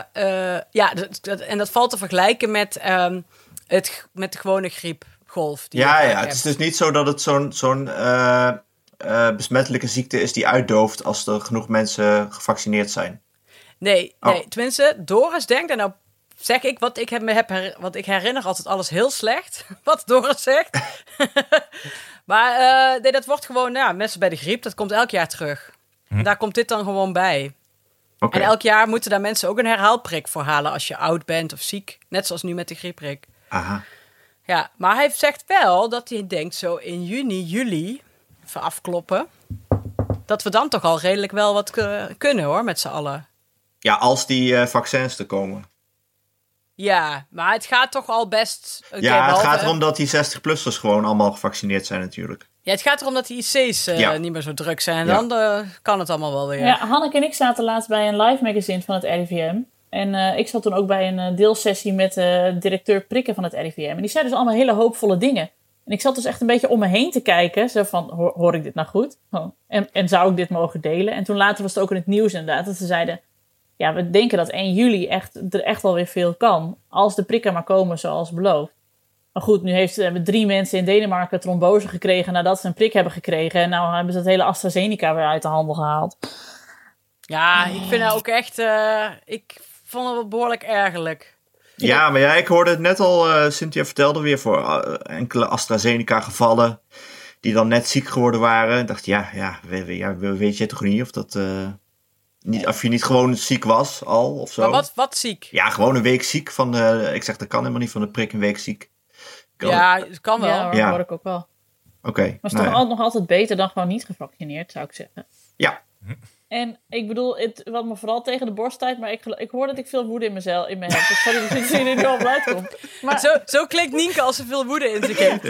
S3: eh, ja, dat, dat- en dat valt te vergelijken met, ehm, het, g- met de gewone griepgolf. die je
S1: Ja,
S3: vaak
S1: ja. Het
S3: hebt.
S1: is dus niet zo dat het zo'n zo'n eh, eh, besmettelijke ziekte is die uitdooft als er genoeg mensen gevaccineerd zijn.
S3: Nee,
S1: Oh.
S3: nee, tenminste, Doris denkt, en nou zeg ik wat ik, heb, me heb her- want ik herinner altijd alles heel slecht, wat Doris zegt. maar eh, nee, dat wordt gewoon, nou, ja, mensen bij de griep, dat komt elk jaar terug. En daar komt dit dan gewoon bij.
S1: Oké.
S3: En elk jaar moeten daar mensen ook een herhaalprik voor halen als je oud bent of ziek. Net zoals nu met de griepprik.
S1: Aha.
S3: Ja, maar hij zegt wel dat hij denkt zo in juni, juli, even afkloppen, dat we dan toch al redelijk wel wat eh, kunnen hoor, met z'n allen.
S1: Ja, als die eh, vaccins er komen.
S3: Ja, maar het gaat toch al best. oké,
S1: ja, het
S3: behalve-
S1: gaat erom dat die 60-plussers gewoon allemaal gevaccineerd zijn natuurlijk.
S3: Ja, het gaat erom dat die IC's eh,
S1: Ja.
S3: niet meer zo druk zijn. En
S1: Ja.
S3: dan eh, kan het allemaal wel weer.
S2: Ja, Hanneke en ik zaten laatst bij een live magazine van het RIVM. En eh, ik zat toen ook bij een eh, deelsessie met de directeur Prikken van het RIVM. En die zei dus allemaal hele hoopvolle dingen. En ik zat dus echt een beetje om me heen te kijken. Zo van, hoor, hoor ik dit nou goed? Oh, En, en zou ik dit mogen delen? En toen later was het ook in het nieuws inderdaad. Dat ze zeiden, ja, we denken dat 1 juli echt, er echt wel weer veel kan. Als de prikken maar komen zoals beloofd. Maar goed, nu heeft, hebben drie mensen in Denemarken trombose gekregen nadat ze een prik hebben gekregen. En nou hebben ze het hele AstraZeneca weer uit de handel gehaald.
S3: Ja, ik vind dat ook echt. eh, ik vond het wel behoorlijk ergerlijk.
S1: Ja, maar ja, ik hoorde het net al. eh, Cynthia vertelde weer voor eh, enkele AstraZeneca-gevallen. die dan net ziek geworden waren. Ik dacht, ja, ja, we, we- ja, we- weet je toch niet of dat. eh, niet, of je niet gewoon ziek was al of zo.
S3: Maar wat, wat ziek.
S1: Ja, gewoon een week ziek van de. Ik zeg, dat kan helemaal niet van de prik een week ziek. Kan-
S3: Ja, het kan wel.
S2: Ja,
S3: Ja,
S2: hoor,
S1: Ja.
S2: hoor ik ook wel.
S1: Oké.
S2: Maar het is
S1: nou
S2: toch
S1: ja.
S2: al- nog altijd beter dan gewoon niet gevaccineerd, zou ik zeggen.
S1: Ja.
S2: En ik bedoel, het, wat me vooral tegen de borst stuit, maar ik, gelo- ik hoor dat ik veel woede in mezelf in me heb. Dus sorry dat ik hier nu al op uitkomt. Maar
S3: Zo, zo klinkt Nienke als ze veel woede in zich heeft.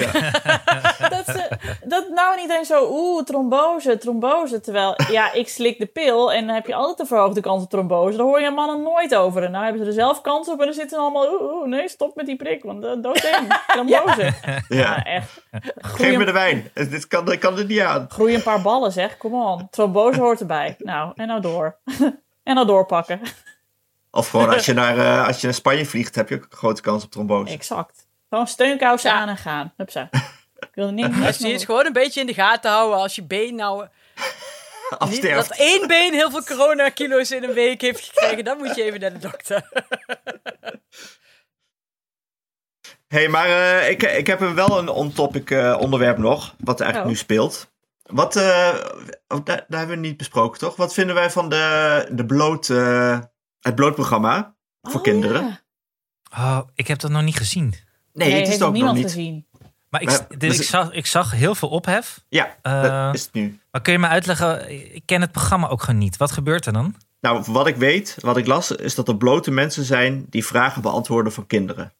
S2: dat, ze, dat nou en iedereen zo, oeh, trombose, trombose. Terwijl, ja, ik slik de pil en dan heb je altijd de verhoogde kans op trombose. Daar hoor je mannen nooit over. En nou hebben ze er zelf kans op en dan zitten ze allemaal, oeh, oeh, nee, stop met die prik, want uh, doodeng, trombose. ja.
S1: ja.
S2: echt.
S1: Geef me de wijn. Het- Dit kan, ik kan er niet aan.
S2: Groei een paar ballen, zeg. Kom on. Trombose hoort erbij. Nou, en nou door. en nou doorpakken.
S1: Of gewoon als je naar, eh, als je naar Spanje vliegt, heb je ook een grote kans op trombose.
S2: Exact. Gewoon steunkousen
S3: Ja.
S2: aan en gaan. Hupsa. Ik wilde niks.
S3: Ja,
S2: niks
S3: zie je, het
S2: meer-
S3: gewoon een beetje in de gaten houden als je been nou... Niet dat
S1: Afsterft.
S3: één been heel veel coronakilo's in een week heeft gekregen, dan moet je even naar de dokter.
S1: Hé, hey, maar eh, ik, ik heb er wel een on-topic eh, onderwerp nog, wat eigenlijk
S3: Oh.
S1: nu speelt. Wat, eh, oh, daar, daar hebben we niet besproken, toch? Wat vinden wij van de, de bloot, eh, het blootprogramma voor
S2: Oh,
S1: kinderen?
S2: ja.
S4: Oh, ik heb dat nog niet gezien.
S1: Nee,
S2: Nee,
S1: het is
S2: heeft
S1: het ook nog
S2: niemand
S1: niet.
S2: gezien.
S4: Maar ik,
S1: Maar-
S4: dit-
S1: dus-
S4: ik, zag, ik zag heel veel ophef.
S1: Ja,
S4: Eh,
S1: dat is het nu.
S4: Maar kun je me uitleggen, ik ken het programma ook gewoon niet. Wat gebeurt er dan?
S1: Nou, wat ik weet, wat ik las, is dat er blote mensen zijn die vragen beantwoorden van kinderen.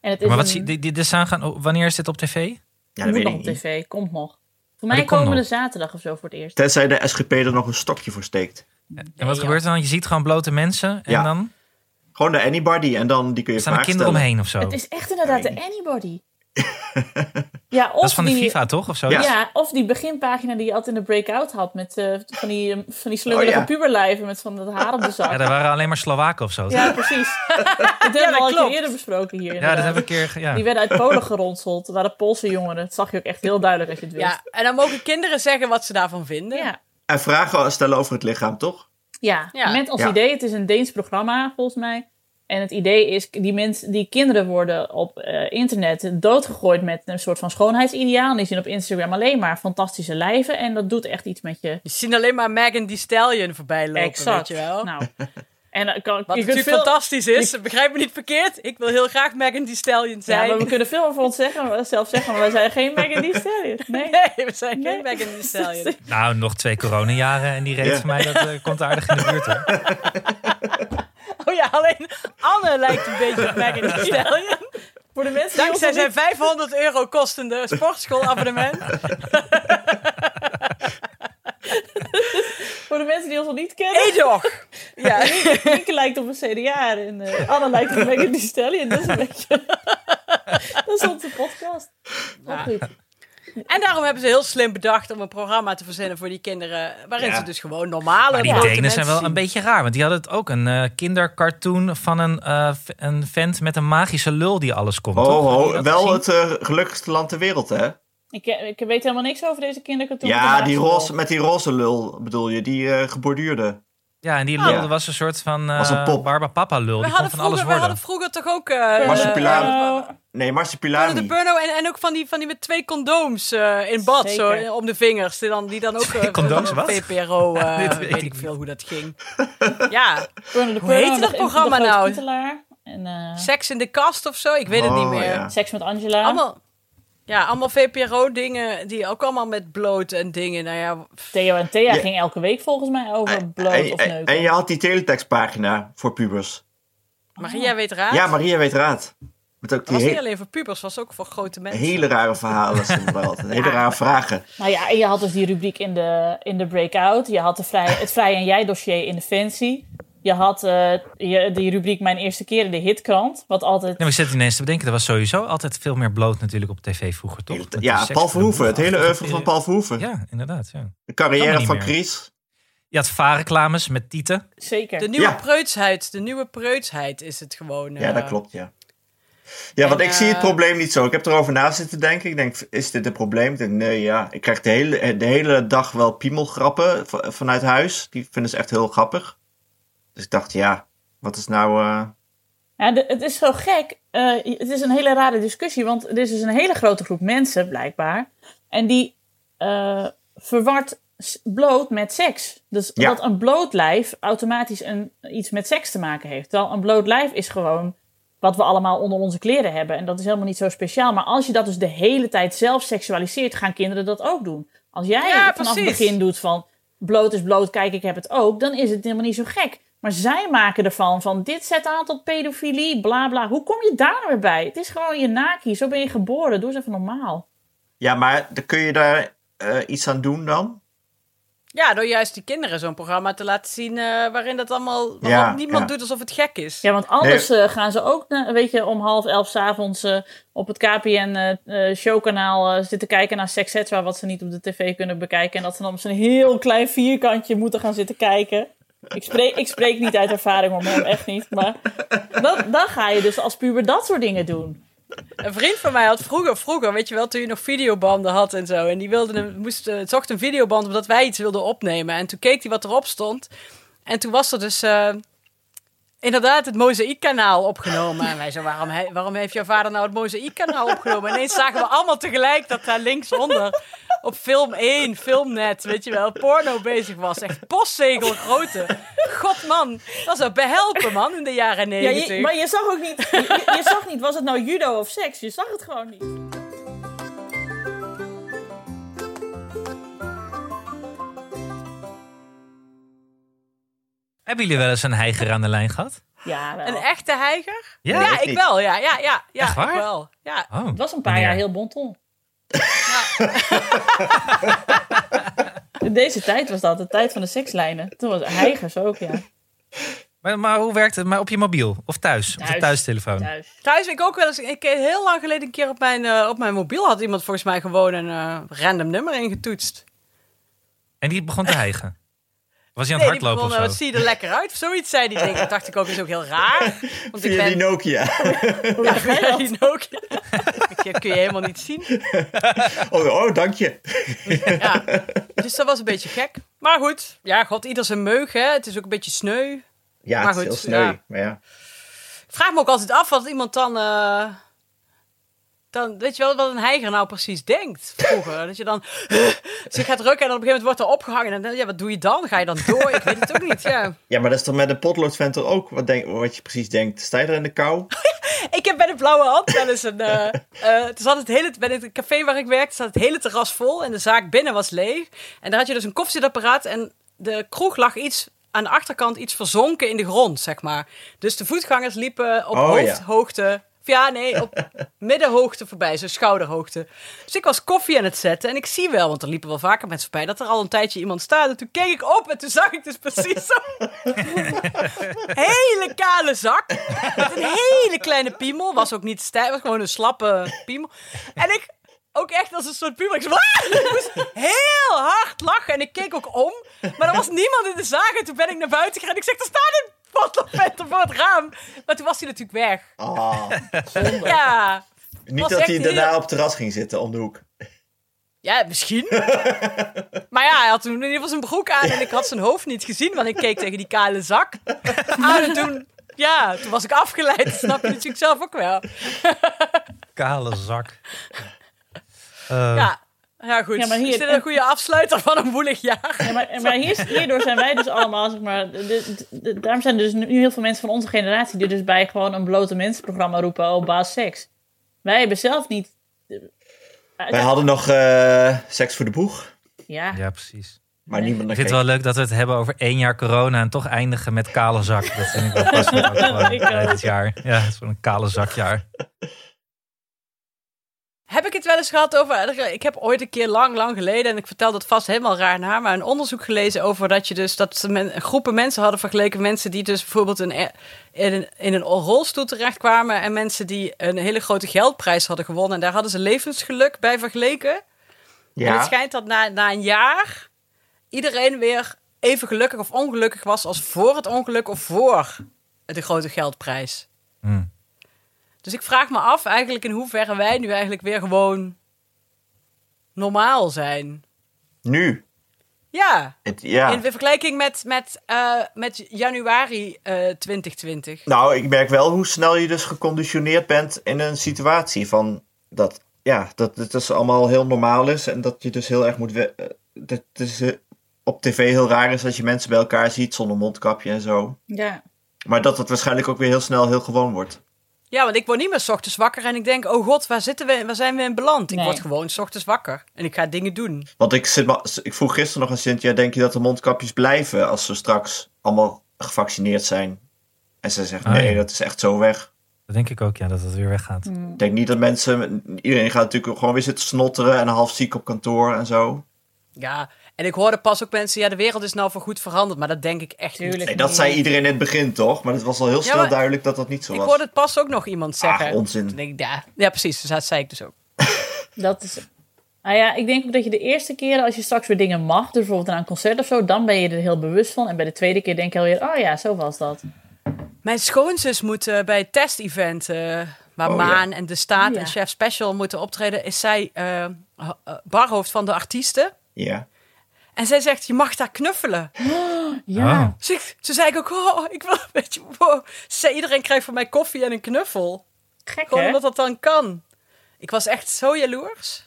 S2: En het is
S4: Maar wat
S2: een-
S4: zie, die, die, dit staan gaan, oh, wanneer is dit op tv?
S1: Ja, dat
S2: moet
S1: weet
S2: nog
S1: ik
S2: op
S1: niet.
S2: tv. Komt nog. Voor mij
S4: Maar die komt
S2: komende
S4: nog.
S2: zaterdag of zo voor het eerst.
S1: Tenzij de SGP er nog een stokje voor steekt.
S4: En wat
S2: ja.
S4: gebeurt er dan? Je ziet gewoon blote mensen en
S1: Ja.
S4: dan
S1: Gewoon de anybody en dan die kun je
S4: staan er
S1: vragen
S4: kinderen
S1: stellen.
S4: omheen of zo.
S2: Het is echt inderdaad de anybody. ja, of
S4: Dat is van de
S2: die,
S4: FIFA toch? Of zo?
S1: Ja.
S2: Ja. of die beginpagina die je altijd in de breakout had. Met eh, van die, eh, van die slungerige
S1: Oh, ja.
S2: puberlijven met van dat haar op de zak.
S4: Ja, daar waren alleen maar Slowaken of zo. toch?
S2: Ja, precies. dat hebben we al een keer
S3: klopt.
S2: eerder besproken hier.
S4: Ja,
S2: inderdaad.
S4: dat heb ik een keer. ge- Ja.
S2: Die werden uit Polen geronseld. Dat waren Poolse jongeren. Dat zag je ook echt heel duidelijk als je het wist.
S3: Ja, en dan mogen kinderen zeggen wat ze daarvan vinden.
S2: ja.
S1: En vragen stellen over het lichaam, toch?
S2: Ja,
S3: Ja.
S2: met als
S1: Ja.
S2: idee, het is een Deens programma volgens mij. En het idee is, die, mensen, die kinderen worden op eh, internet doodgegooid met een soort van schoonheidsideaal. En die zien op Instagram alleen maar fantastische lijven. En dat doet echt iets met je.
S3: Je ziet alleen maar Megan Thee Stallion voorbij lopen,
S2: exact.
S3: weet je wel.
S2: Nou, en dan kan, je
S3: Wat
S2: kunt
S3: natuurlijk
S2: veel,
S3: fantastisch is, begrijp me niet verkeerd. Ik wil heel graag Megan Thee Stallion
S2: ja,
S3: zijn.
S2: maar we kunnen veel over ons zeggen, zelf zeggen, maar wij zijn geen Megan Thee Stallion. Nee.
S3: Nee, we zijn geen
S2: Nee.
S3: Megan Thee Stallion.
S4: Nou, nog twee coronajaren en die reed
S1: Ja.
S4: van mij, dat eh, komt aardig in de buurt. Hoor.
S3: Oh ja, alleen Anne lijkt een beetje op Megan Thee Stallion.
S2: Voor de mensen die ons
S3: Dankzij
S2: nog
S3: zijn
S2: niet,
S3: 500 euro kostende sportschoolabonnement.
S2: voor de mensen die ons nog niet kennen,
S3: Edoch! Ja,
S2: Nienke lijkt op een CDA en eh, Anne lijkt op Megan Thee Stallion. Dat is een beetje... dat is onze podcast. Maar goed.
S3: En daarom hebben ze heel slim bedacht om een programma te verzinnen voor die kinderen. Waarin
S1: Ja.
S3: ze dus gewoon normale
S4: Maar die
S3: grote
S4: Denen
S3: mensen
S4: zijn wel
S3: zien.
S4: een beetje raar. Want die hadden het ook een eh, kindercartoon van een, eh, v- een vent met een magische lul die alles komt.
S1: Ho,
S4: toch? Hadden
S1: Oh, ho,
S4: jullie dat
S1: wel
S4: gezien?
S1: het eh, gelukkigste land ter wereld, hè?
S2: Ik, eh, ik weet helemaal niks over deze kindercartoon.
S1: ja, die roze,
S2: roze.
S1: met die roze lul bedoel je, die eh, geborduurde.
S4: Ja, en die lul
S1: Oh. Ja.
S4: was een soort van
S1: Was een
S4: eh
S1: pop.
S4: Barba Papa lul.
S3: We
S4: Die kon
S3: hadden,
S4: van alles
S3: vroeger, we hadden vroeger
S4: worden.
S3: toch ook eh,
S1: Marsupilami.
S3: eh,
S1: Nee,
S3: Bruno de
S1: Marsupilami.
S3: Burno en, en ook van die, van die met twee condooms eh, in bad, zo
S2: Zeker.
S3: eh, om de vingers. Die dan, die dan ook eh, van-
S4: condooms,
S3: van
S4: wat?
S3: VPRO, eh,
S4: Dit weet
S3: weet, ik
S4: ik
S3: veel hoe dat ging. ja,
S2: Hoe
S3: heette dat programma nou?
S2: En, eh,
S3: Seks in de kast of zo, ik weet het
S1: Oh,
S3: niet meer.
S1: ja.
S2: Seks met Angela.
S3: Allemaal, ja, allemaal VPRO-dingen, die ook allemaal met bloot en dingen. Nou ja,
S2: Theo en Thea
S1: Je-
S2: ging elke week volgens mij over
S1: En-
S2: bloot
S1: en,
S2: of
S1: en-
S2: neuken.
S1: en je had die teletextpagina voor pubers.
S3: Maria weet raad.
S1: Ja, Maria weet raad. Met ook
S3: Het was
S1: die
S3: niet
S1: he-
S3: alleen voor pubers, het was ook voor grote mensen.
S1: hele rare verhalen. stonden er altijd. Hele rare vragen.
S2: Nou ja, en je had dus die rubriek in de, in de breakout. Je had de vrij, het Vrij en Jij dossier in de Fancy. Je had eh, je, die rubriek Mijn Eerste Keer in de Hitkrant. Wat altijd...
S4: Nee, maar ik zit ineens te bedenken, er was sowieso altijd veel meer bloot natuurlijk op tv vroeger, toch? Met die
S1: Ja,
S4: seks-
S1: Paul Verhoeven. Het hele oeuvre van Paul Verhoeven.
S4: Ja, inderdaad. Ja.
S1: De
S4: Kan maar
S1: carrière
S4: niet
S1: van
S4: meer.
S1: Chris.
S4: Je had vaarreclames met Tieten.
S2: Zeker.
S3: De nieuwe
S1: Ja.
S3: preutsheid, de nieuwe preutsheid is het gewoon.
S1: Ja,
S3: eh,
S1: dat klopt, ja. Ja, want
S3: En,
S1: ik zie het
S3: eh,
S1: probleem niet zo. Ik heb erover na zitten denken. Ik denk, is dit een probleem? Ik denk, nee, ja. Ik krijg de hele, eh, de hele dag wel piemelgrappen v- eh, vanuit huis. Die vinden ze echt heel grappig. Dus ik dacht, ja, wat is nou... eh,
S2: Ja, de- het is zo gek. Eh, het is een hele rare discussie, want er is dus een hele grote groep mensen, blijkbaar. En die eh, verwart s- bloot met seks. Dus
S1: Ja.
S2: dat een bloot lijf automatisch een, iets met seks te maken heeft. Terwijl een bloot lijf is gewoon wat we allemaal onder onze kleren hebben. En dat is helemaal niet zo speciaal. Maar als je dat dus de hele tijd zelf seksualiseert, gaan kinderen dat ook doen. Als jij
S3: Ja,
S2: vanaf het
S3: precies.
S2: begin doet van bloot is bloot, kijk, ik heb het ook, dan is het helemaal niet zo gek. Maar zij maken ervan van dit zet aan tot pedofilie, bla bla. Hoe kom je daar nou weer bij? Het is gewoon je naki, zo ben je geboren, doe eens even normaal.
S1: Ja, maar dan kun je daar eh, iets aan doen dan?
S3: Ja, door juist die kinderen zo'n programma te laten zien eh, waarin dat allemaal. want
S1: Ja,
S3: niemand
S1: ja.
S3: doet alsof het gek is.
S2: Ja, want anders eh, gaan ze ook, eh, weet je, om half elf s'avonds avonds eh, op het eh, KPN-showkanaal zitten kijken naar Sex Cetera, wat ze niet op de tv kunnen bekijken. En dat ze dan op zo'n heel klein vierkantje moeten gaan zitten kijken. Ik spreek, ik spreek niet uit ervaring, hoor, man, echt niet. Maar dan, dan ga je dus als puber dat soort dingen doen.
S3: Een vriend van mij had vroeger, vroeger, weet je wel, toen je nog videobanden had en zo. En die wilde een, moest, eh, zocht een videoband omdat wij iets wilden opnemen. En toen keek hij wat erop stond. En toen was er dus eh, inderdaad het Mozaïekkanaal opgenomen. En wij zo, waarom, he- waarom heeft jouw vader nou het Mozaïekkanaal opgenomen? En ineens zagen we allemaal tegelijk dat daar linksonder op film 1, filmnet, weet je wel, porno bezig was. Echt postzegel grote. God man, dat zou behelpen man in de jaren
S2: Ja,
S3: negentig.
S2: je, maar je zag ook niet, je, je zag niet, was het nou judo of seks? Je zag het gewoon niet.
S4: Hebben jullie wel eens een heiger aan de lijn gehad?
S2: Ja, wel.
S3: Een echte heiger?
S4: Nou. Ja?
S3: Ja,
S1: weet
S3: ik
S1: niet.
S3: wel. Ja, ja, ja. ja
S4: Echt waar?
S3: Ik wel. Ja.
S4: Oh,
S2: Het was een paar
S4: wanneer?
S2: jaar heel bonton. In deze tijd was dat, de tijd van de sekslijnen. Toen was heigers ook, ja.
S4: Maar, maar hoe werkt het? Maar op je mobiel? Of thuis? Op de
S2: Thuis.
S4: thuistelefoon?
S2: Thuis.
S3: Thuis ben ik ook wel eens... Ik, eh, heel lang geleden een keer op mijn, eh, op mijn mobiel had iemand volgens mij gewoon een eh, random nummer ingetoetst.
S4: En die begon te hijgen. Was hij aan het
S3: die
S4: hardlopen
S3: begon, eh,
S4: of
S3: wat
S4: zo?
S3: zie je er lekker uit? Of zoiets zei die denk ik. Dat dacht ik ook, is ook heel raar. Want ik
S1: Via die
S3: ben...
S1: Nokia.
S3: Ja, via die Nokia. Dat kun je helemaal niet zien.
S1: Oh, oh dank je.
S3: Ja. Dus dat was een beetje gek. Maar goed. Ja, god, ieder zijn meug, hè. Het is ook een beetje sneu.
S1: Ja,
S3: Maar
S1: het is
S3: goed,
S1: heel sneu.
S3: ja.
S1: Maar ja.
S3: Ik vraag me ook altijd af wat iemand dan. eh, dan weet je wel wat een heiger nou precies denkt vroeger. dat je dan zich gaat rukken en dan op een gegeven moment wordt er opgehangen. En dan, ja, wat doe je dan? Ga je dan door? Ik weet het ook niet. Ja.
S1: ja, maar dat is toch met een potloodventer ook wat, denk, wat je precies denkt. Sta je er in de kou?
S3: Ik heb bij de Blauwe Hand wel eens een. eh eh, er zat het hele, bij het café waar ik werkte zat het hele terras vol en de zaak binnen was leeg. En daar had je dus een koffiezetapparaat en de kroeg lag iets aan de achterkant iets verzonken in de grond, zeg maar. Dus de voetgangers liepen op
S1: Oh, ja.
S3: hoofdhoogte. of Ja, nee, op middenhoogte voorbij, zo schouderhoogte. Dus ik was koffie aan het zetten en ik zie wel, want er liepen wel vaker mensen voorbij, dat er al een tijdje iemand staat. En toen keek ik op en toen zag ik dus precies zo hele kale zak. Met een hele kleine piemel. Was ook niet stijf, was gewoon een slappe piemel. En ik ook echt als een soort piemel. Ik, zo, "Ah!" ik moest heel hard lachen en ik keek ook om. Maar er was niemand in de zaak en toen ben ik naar buiten gegaan. En ik zeg, er staat een potloodventer voor het raam. Maar toen was hij natuurlijk weg.
S1: Ah,
S3: Ja,
S1: niet
S3: Was
S1: dat
S3: echt
S1: hij daarna
S3: heel-
S1: op het terras ging zitten om de hoek.
S3: ja misschien. Maar ja, hij had toen in ieder geval zijn broek aan en ik had zijn hoofd niet gezien. Want ik keek tegen die kale zak aan en toen... Ja, toen was ik afgeleid. Dat snap je natuurlijk zelf ook wel.
S4: Kale zak. Eh,
S3: Ja, ja goed.
S2: Ja, maar hier-
S3: Is dit een goede afsluiter van een woelig jaar?
S2: Ja, maar maar hier, hierdoor zijn wij dus allemaal, zeg maar... de- de- de- daarom zijn er dus nu heel veel mensen van onze generatie... die dus bij gewoon een blote mensenprogramma roepen... oh, baas seks. Wij hebben zelf niet...
S1: Wij hadden nog eh, seks voor de boeg.
S2: Ja,
S4: ja, precies.
S1: Maar niemand
S4: Ik
S1: naar
S4: vind het
S1: keek.
S4: wel leuk dat we het hebben over één jaar corona en toch eindigen met kale zak. Dat vind ik wel passend ook gewoon
S2: Ik
S4: bij
S2: ook.
S4: dit jaar. Ja, het is wel een kale zakjaar.
S3: Heb ik het wel eens gehad over... eh, Ik heb ooit een keer lang, lang geleden... en ik vertel dat vast helemaal raar naar... maar een onderzoek gelezen over dat je dus... dat ze men- groepen mensen hadden vergeleken... mensen die dus bijvoorbeeld een, e- in, een, in een rolstoel terechtkwamen... en mensen die een hele grote geldprijs hadden gewonnen... en daar hadden ze levensgeluk bij vergeleken. En het
S1: Ja,
S3: schijnt dat na, na een jaar... iedereen weer even gelukkig of ongelukkig was... als voor het ongeluk of voor de grote geldprijs.
S4: Hm.
S1: Hmm.
S3: Dus ik vraag me af eigenlijk in hoeverre wij nu eigenlijk weer gewoon normaal zijn.
S1: nu.
S3: Ja,
S1: Het, ja.
S3: in vergelijking met, met, eh, met januari eh, 2020.
S1: Nou, ik merk wel hoe snel je dus geconditioneerd bent in een situatie van dat, ja, dat het dus allemaal heel normaal is en dat je dus heel erg moet, we- eh, dat het is eh, op tv heel raar is dat je mensen bij elkaar ziet zonder mondkapje en zo.
S2: ja.
S1: Maar dat het waarschijnlijk ook weer heel snel heel gewoon wordt.
S3: Ja, want ik word niet meer 's ochtends wakker en ik denk, oh god, waar, zitten we, waar zijn we in beland? Ik
S2: Nee.
S3: word gewoon 's ochtends wakker en ik ga dingen doen.
S1: Want ik, zit, ma- ik vroeg gisteren nog aan Cynthia, denk je dat de mondkapjes blijven als ze straks allemaal gevaccineerd zijn? En ze zegt,
S4: Ah,
S1: nee,
S4: ja.
S1: dat is echt zo weg.
S4: Dat denk ik ook, ja, dat het weer weggaat.
S1: Ik denk niet dat mensen, iedereen gaat natuurlijk gewoon weer zitten snotteren en half ziek op kantoor en zo.
S3: Ja, en ik hoorde pas ook mensen, ja, de wereld is nou voorgoed veranderd. Maar dat denk ik echt niet.
S2: Tuurlijk.
S1: Nee, dat zei iedereen in het begin toch? Maar het was al heel snel
S3: maar-
S1: duidelijk dat dat niet zo
S3: Ik
S1: was.
S3: hoorde het pas ook nog iemand zeggen.
S1: Ach, onzin.
S3: Toen denk ik, ja, ja, precies, dus dat zei ik dus ook.
S2: Dat is. Nou ja, ik denk ook dat je de eerste keren als je straks weer dingen mag, dus bijvoorbeeld aan een concert of zo, dan ben je er heel bewust van. En bij de tweede keer denk je alweer, oh ja, zo was dat.
S3: Mijn schoonzus moet eh, bij het test-event eh, waar
S1: Oh, ja.
S3: Maan en De Staat
S2: Ja.
S3: en Chef Special moeten optreden, is zij eh, ho- eh, barhoofd van de artiesten.
S1: Ja.
S3: En zij zegt, je mag daar knuffelen.
S2: Ja.
S4: Oh.
S3: Dus ik, toen zei ik ook, oh, ik wil een beetje... Wow. Ze zei, iedereen krijgt van mij koffie en een knuffel.
S2: Gek
S3: Gewoon
S2: hè?
S3: omdat dat dan kan. Ik was echt zo jaloers.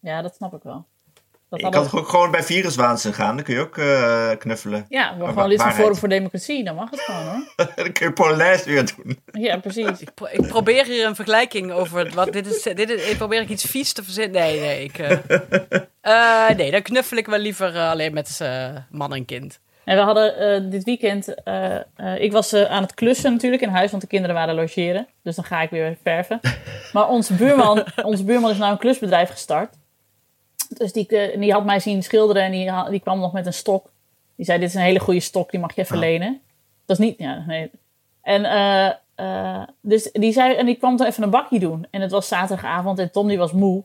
S2: Ja, dat snap ik wel. Dat
S1: Je
S2: allemaal-
S1: kan toch ook gewoon bij viruswaanzin gaan. Dan kun je ook eh, knuffelen.
S2: Ja, we
S1: Wa-
S2: gewoon Oh, lid van
S1: waarheid.
S2: Forum voor Democratie, dan mag het gewoon hoor.
S1: dan kun je Polonaise weer doen.
S2: Ja, precies.
S3: Pro- Ik probeer hier een vergelijking over. Wat, dit is, dit is, ik probeer ik iets vies te verzinnen. Nee, nee. Ik, eh, eh, nee, dan knuffel ik wel liever eh, alleen met eh, man en kind.
S2: En we hadden eh, dit weekend, eh, eh, ik was eh, aan het klussen natuurlijk in huis, want de kinderen waren logeren. Dus dan ga ik weer verven. Maar onze buurman, onze buurman is nou een klusbedrijf gestart. Dus die, eh, die had mij zien schilderen en die, ha- die kwam nog met een stok. Die zei, dit is een hele goede stok, die mag je even lenen. Dat is niet, ja, nee. En eh, eh, dus die zei, en die kwam er even een bakje doen. En het was zaterdagavond en Tom die was moe.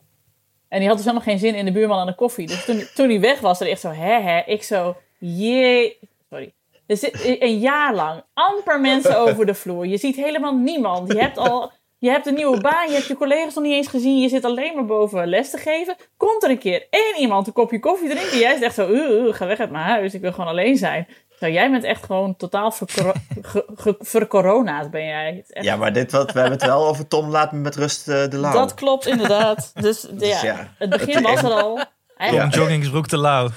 S2: En die had dus helemaal geen zin in de buurman aan de koffie. Dus toen, toen hij weg was, er echt zo, hè hè, ik zo, jee, sorry. Dus i- een jaar lang, amper mensen over de vloer. Je ziet helemaal niemand. Je hebt al, je hebt een nieuwe baan, je hebt je collega's nog niet eens gezien. Je zit alleen maar boven les te geven. Komt er een keer één iemand een kopje koffie drinken. Jij is echt zo, "Oeh, oeh, ga weg uit mijn huis, ik wil gewoon alleen zijn. Zo, jij bent echt gewoon totaal vercoro- ge- ge- vercoronaad, ben jij. Het is echt-
S1: Ja, maar dit wat, we hebben het wel over Tom laat me met rust eh, de lauw.
S2: Dat klopt inderdaad. Dus, ja,
S1: ja,
S2: het begin was er al. Eigenlijk
S4: Om joggingsbroek te lauw.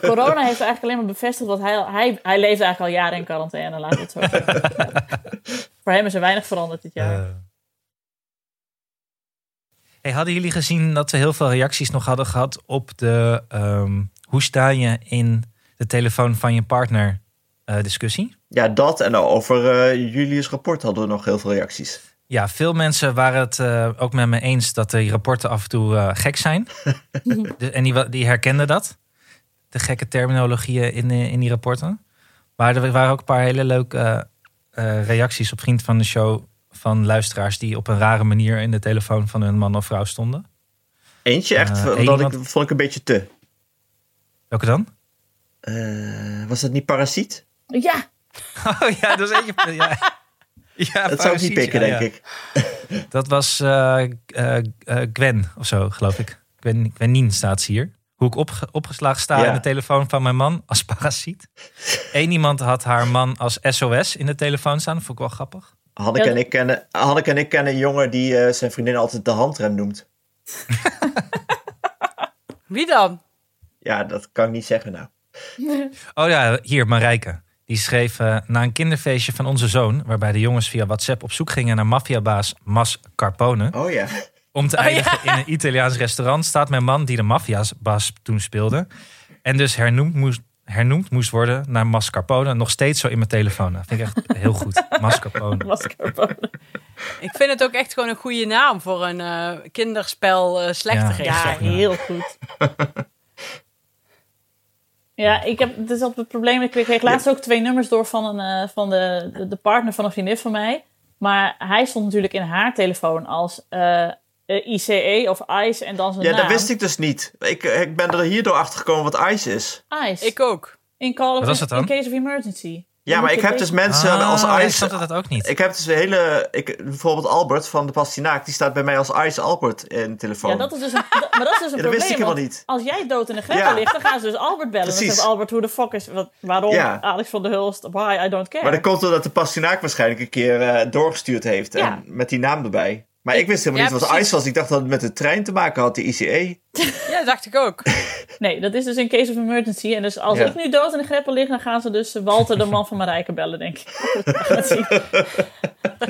S2: Corona heeft eigenlijk alleen maar bevestigd dat hij, hij, hij leeft eigenlijk al jaren in quarantaine. Laat het zo zeggen. Voor hem is er weinig veranderd dit jaar.
S4: Eh. Hey, hadden jullie gezien dat we heel veel reacties nog hadden gehad op de ehm, hoe sta je in de telefoon van je partner eh, discussie?
S1: Ja, dat en over eh, Julius' rapport hadden we nog heel veel reacties.
S4: Ja, veel mensen waren het eh, ook met me eens dat die rapporten af en toe eh, gek zijn. De- en die, wa- die herkenden dat. De gekke terminologieën in, eh, in die rapporten. Maar er waren ook een paar hele leuke eh, eh, reacties op Vriend van de Show. Van luisteraars die op een rare manier in de telefoon van hun man of vrouw stonden.
S1: Eentje echt,
S4: Eh,
S1: dat
S4: één
S1: ik,
S4: iemand-
S1: vond ik een beetje te.
S4: Welke dan?
S1: Eh, was dat niet parasiet?
S2: Ja,
S4: Oh ja, dat is eentje. Ja. Ja,
S1: dat zou ik niet
S4: Parasiet,
S1: pikken,
S4: ja,
S1: denk
S4: ja.
S1: ik.
S4: Dat was eh, eh, eh, Gwen of zo, geloof ik. Gwen, Gwenien staat ze hier. Hoe ik opge- opgeslagen sta
S1: Ja.
S4: in de telefoon van mijn man als parasiet. Eén iemand had haar man als SOS in de telefoon staan. Vond ik wel grappig.
S1: Hanneke,
S2: Ja,
S1: en ik kennen, Hanneke en ik kennen een jongen die eh, zijn vriendin altijd de handrem noemt.
S3: Wie dan?
S1: Ja, dat kan ik niet zeggen nou.
S4: Oh ja, hier Marijke. Die schreef eh, na een kinderfeestje van onze zoon... waarbij de jongens via WhatsApp op zoek gingen naar maffiabaas Mas Carpone...
S1: Oh ja.
S4: om te eindigen in een Italiaans restaurant... staat mijn man die de maffiabaas toen speelde... en dus hernoemd moest, hernoemd moest worden naar Mascarpone... nog steeds zo in mijn telefoon. Dat vind ik echt heel goed. Mascarpone.
S2: mascarpone.
S3: Ik vind het ook echt gewoon een goede naam voor een eh, kinderspel eh slechterik.
S4: Ja.
S2: Ja, heel goed. Ja, ik heb, dit is altijd het probleem. Ik kreeg laatst ook twee nummers door van, een, eh, van de, de, de partner van een vriendin van mij. Maar hij stond natuurlijk in haar telefoon als eh, eh, ICE of ICE en dan zijn
S1: Ja,
S2: naam.
S1: dat wist ik dus niet. Ik, ik ben er hierdoor achter gekomen wat ICE is.
S2: ICE.
S3: Ik ook.
S2: E. in call
S4: Wat
S2: of,
S4: was dat dan?
S2: in case of emergency.
S1: Ja, maar ik heb dus mensen als
S4: Ah, Ik
S1: ICE.
S4: snapte dat ook niet.
S1: Ik heb dus een hele. Ik, bijvoorbeeld Albert van de Pastinaak, die staat bij mij als ICE Albert in de telefoon.
S2: Ja, dat is dus een, dat- maar dat is dus
S1: Ja,
S2: een
S1: dat
S2: probleem.
S1: wist ik helemaal
S2: want
S1: niet.
S2: Als jij dood in de greppel
S1: Ja.
S2: ligt, dan gaan ze dus Albert bellen. Dan
S1: Precies.
S2: zegt Albert, hoe de fuck is... Wat, waarom?
S1: Ja.
S2: Alex van der Hulst, why, I don't care.
S1: Maar dat komt doordat de Pastinaak waarschijnlijk een keer eh, doorgestuurd heeft.
S2: Ja.
S1: En met die naam erbij. Maar ik wist helemaal
S3: Ja,
S1: niet wat
S3: precies.
S1: ICE was. Ik dacht dat het met de trein te maken had, de E. ICE.
S3: Ja, dat dacht ik ook.
S2: Nee, dat is dus in case of emergency. En dus als
S1: Ja.
S2: ik nu dood in de greppel lig, dan gaan ze dus Walter, de man van Marijke, bellen, denk ik. Dat zie ik.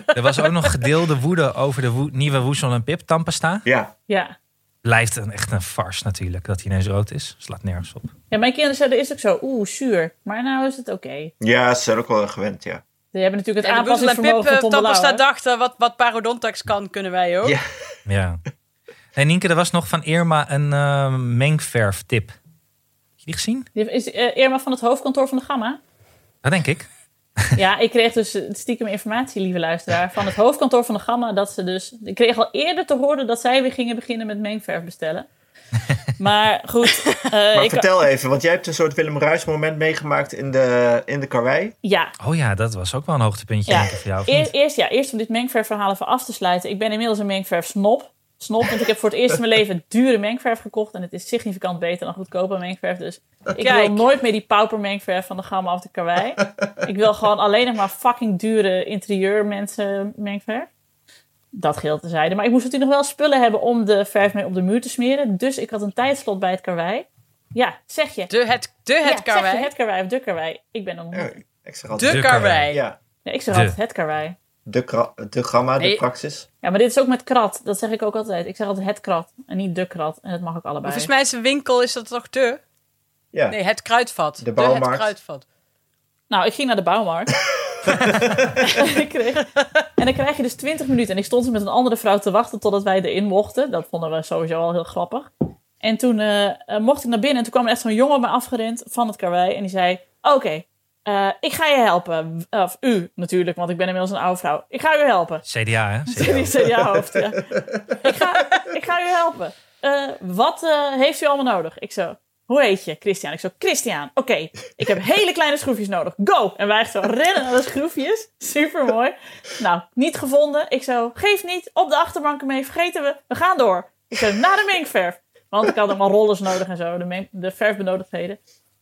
S4: Er was ook nog gedeelde woede over de woe- nieuwe Woesel en Pip tandpasta.
S1: Ja.
S2: ja.
S4: Blijft een, echt een farce natuurlijk dat hij ineens rood is. Slaat nergens op.
S2: ja, mijn kinderen zeiden, is ook zo, oeh, zuur. Maar nou is het oké.
S1: Ja, ze zijn ook wel gewend, ja.
S2: Die hebben natuurlijk het
S3: En de Boezel en
S2: aanpassingsvermogen van
S3: Pip eh,
S2: Tom de Lauw,
S3: Tappasta
S2: hè?
S3: dachten, wat, wat Parodontax kan, kunnen wij ook.
S1: Ja.
S4: Ja. En Nienke, er was nog van Irma een eh, mengverftip. Heb je die gezien?
S2: Die Is eh, Irma van het hoofdkantoor van de Gamma?
S4: Dat denk ik.
S2: Ja, ik kreeg dus eh, stiekem informatie, lieve luisteraar, van het hoofdkantoor van de Gamma. Dat ze dus. Ik kreeg al eerder te horen dat zij weer gingen beginnen met mengverf bestellen. Maar goed. eh,
S1: Maar
S2: ik,
S1: vertel even, want jij hebt een soort Willem Ruijs moment meegemaakt in de, in de karwei.
S2: ja,
S4: Oh ja, dat was ook wel een hoogtepuntje
S2: Ja.
S4: denk ik, voor jou. of
S2: Eer-
S4: niet?
S2: eerst, ja, eerst om dit mengverfverhaal even af te sluiten. Ik ben inmiddels een mengverf-snop. Snop, want ik heb voor het eerst in mijn leven dure mengverf gekocht. En het is significant beter dan goedkope mengverf. Dus ik
S3: Kijk.
S2: wil nooit meer die pauper mengverf van de gamma of de karwei. ik wil gewoon alleen nog maar fucking dure interieur mensen mengverf. Dat geldt tezijde. Maar ik moest natuurlijk nog wel spullen hebben om de verf mee op de muur te smeren. Dus ik had een tijdslot bij het karwei. Ja, zeg je.
S3: De het, de
S2: Ja,
S3: het
S2: zeg je
S3: karwei.
S2: het karwei of de karwei. Ik ben dan...
S1: Ja, ik zeg altijd.
S3: De,
S4: De
S3: karwei.
S4: karwei.
S1: Ja,
S2: Nee, ik zeg
S4: De.
S2: altijd het karwei.
S1: de, kra- de gamma, de
S3: Nee.
S1: praxis.
S2: Ja, maar dit is ook met krat. Dat zeg ik ook altijd. Ik zeg altijd het krat en niet de krat. En dat mag ook allebei.
S3: Volgens mij is de winkel is dat toch de?
S1: Ja.
S3: Nee, het kruidvat. De, het
S1: bouwmarkt.
S3: kruidvat.
S2: Nou, ik ging naar de bouwmarkt. en, ik kreeg... en dan krijg je dus 20 minuten. En ik stond met een andere vrouw te wachten totdat wij erin mochten. Dat vonden we sowieso al heel grappig. En toen eh, eh, mocht ik naar binnen. En toen kwam er echt zo'n jongen op me afgerend van het karwei. En die zei, oké, eh, ik ga je helpen. Of u natuurlijk, want ik ben inmiddels een oude vrouw. Ik ga u helpen.
S4: CDA, hè? CDA.
S2: Die CDA-hoofd, ja. ik, ga, ik ga u helpen. Eh, wat eh, heeft u allemaal nodig? Ik zo, hoe heet je? Christian. Ik zo, Christian, oké. Ik heb hele kleine schroefjes nodig. Go! En wij echt zo rennen naar de schroefjes. Supermooi. Nou, niet gevonden. Ik zo, geef niet. Op de achterbanken mee. Vergeten we. We gaan door. Ik zo, naar de mengverf. Want ik had allemaal rollers nodig en zo. De, meng- de verfbenodigdheden.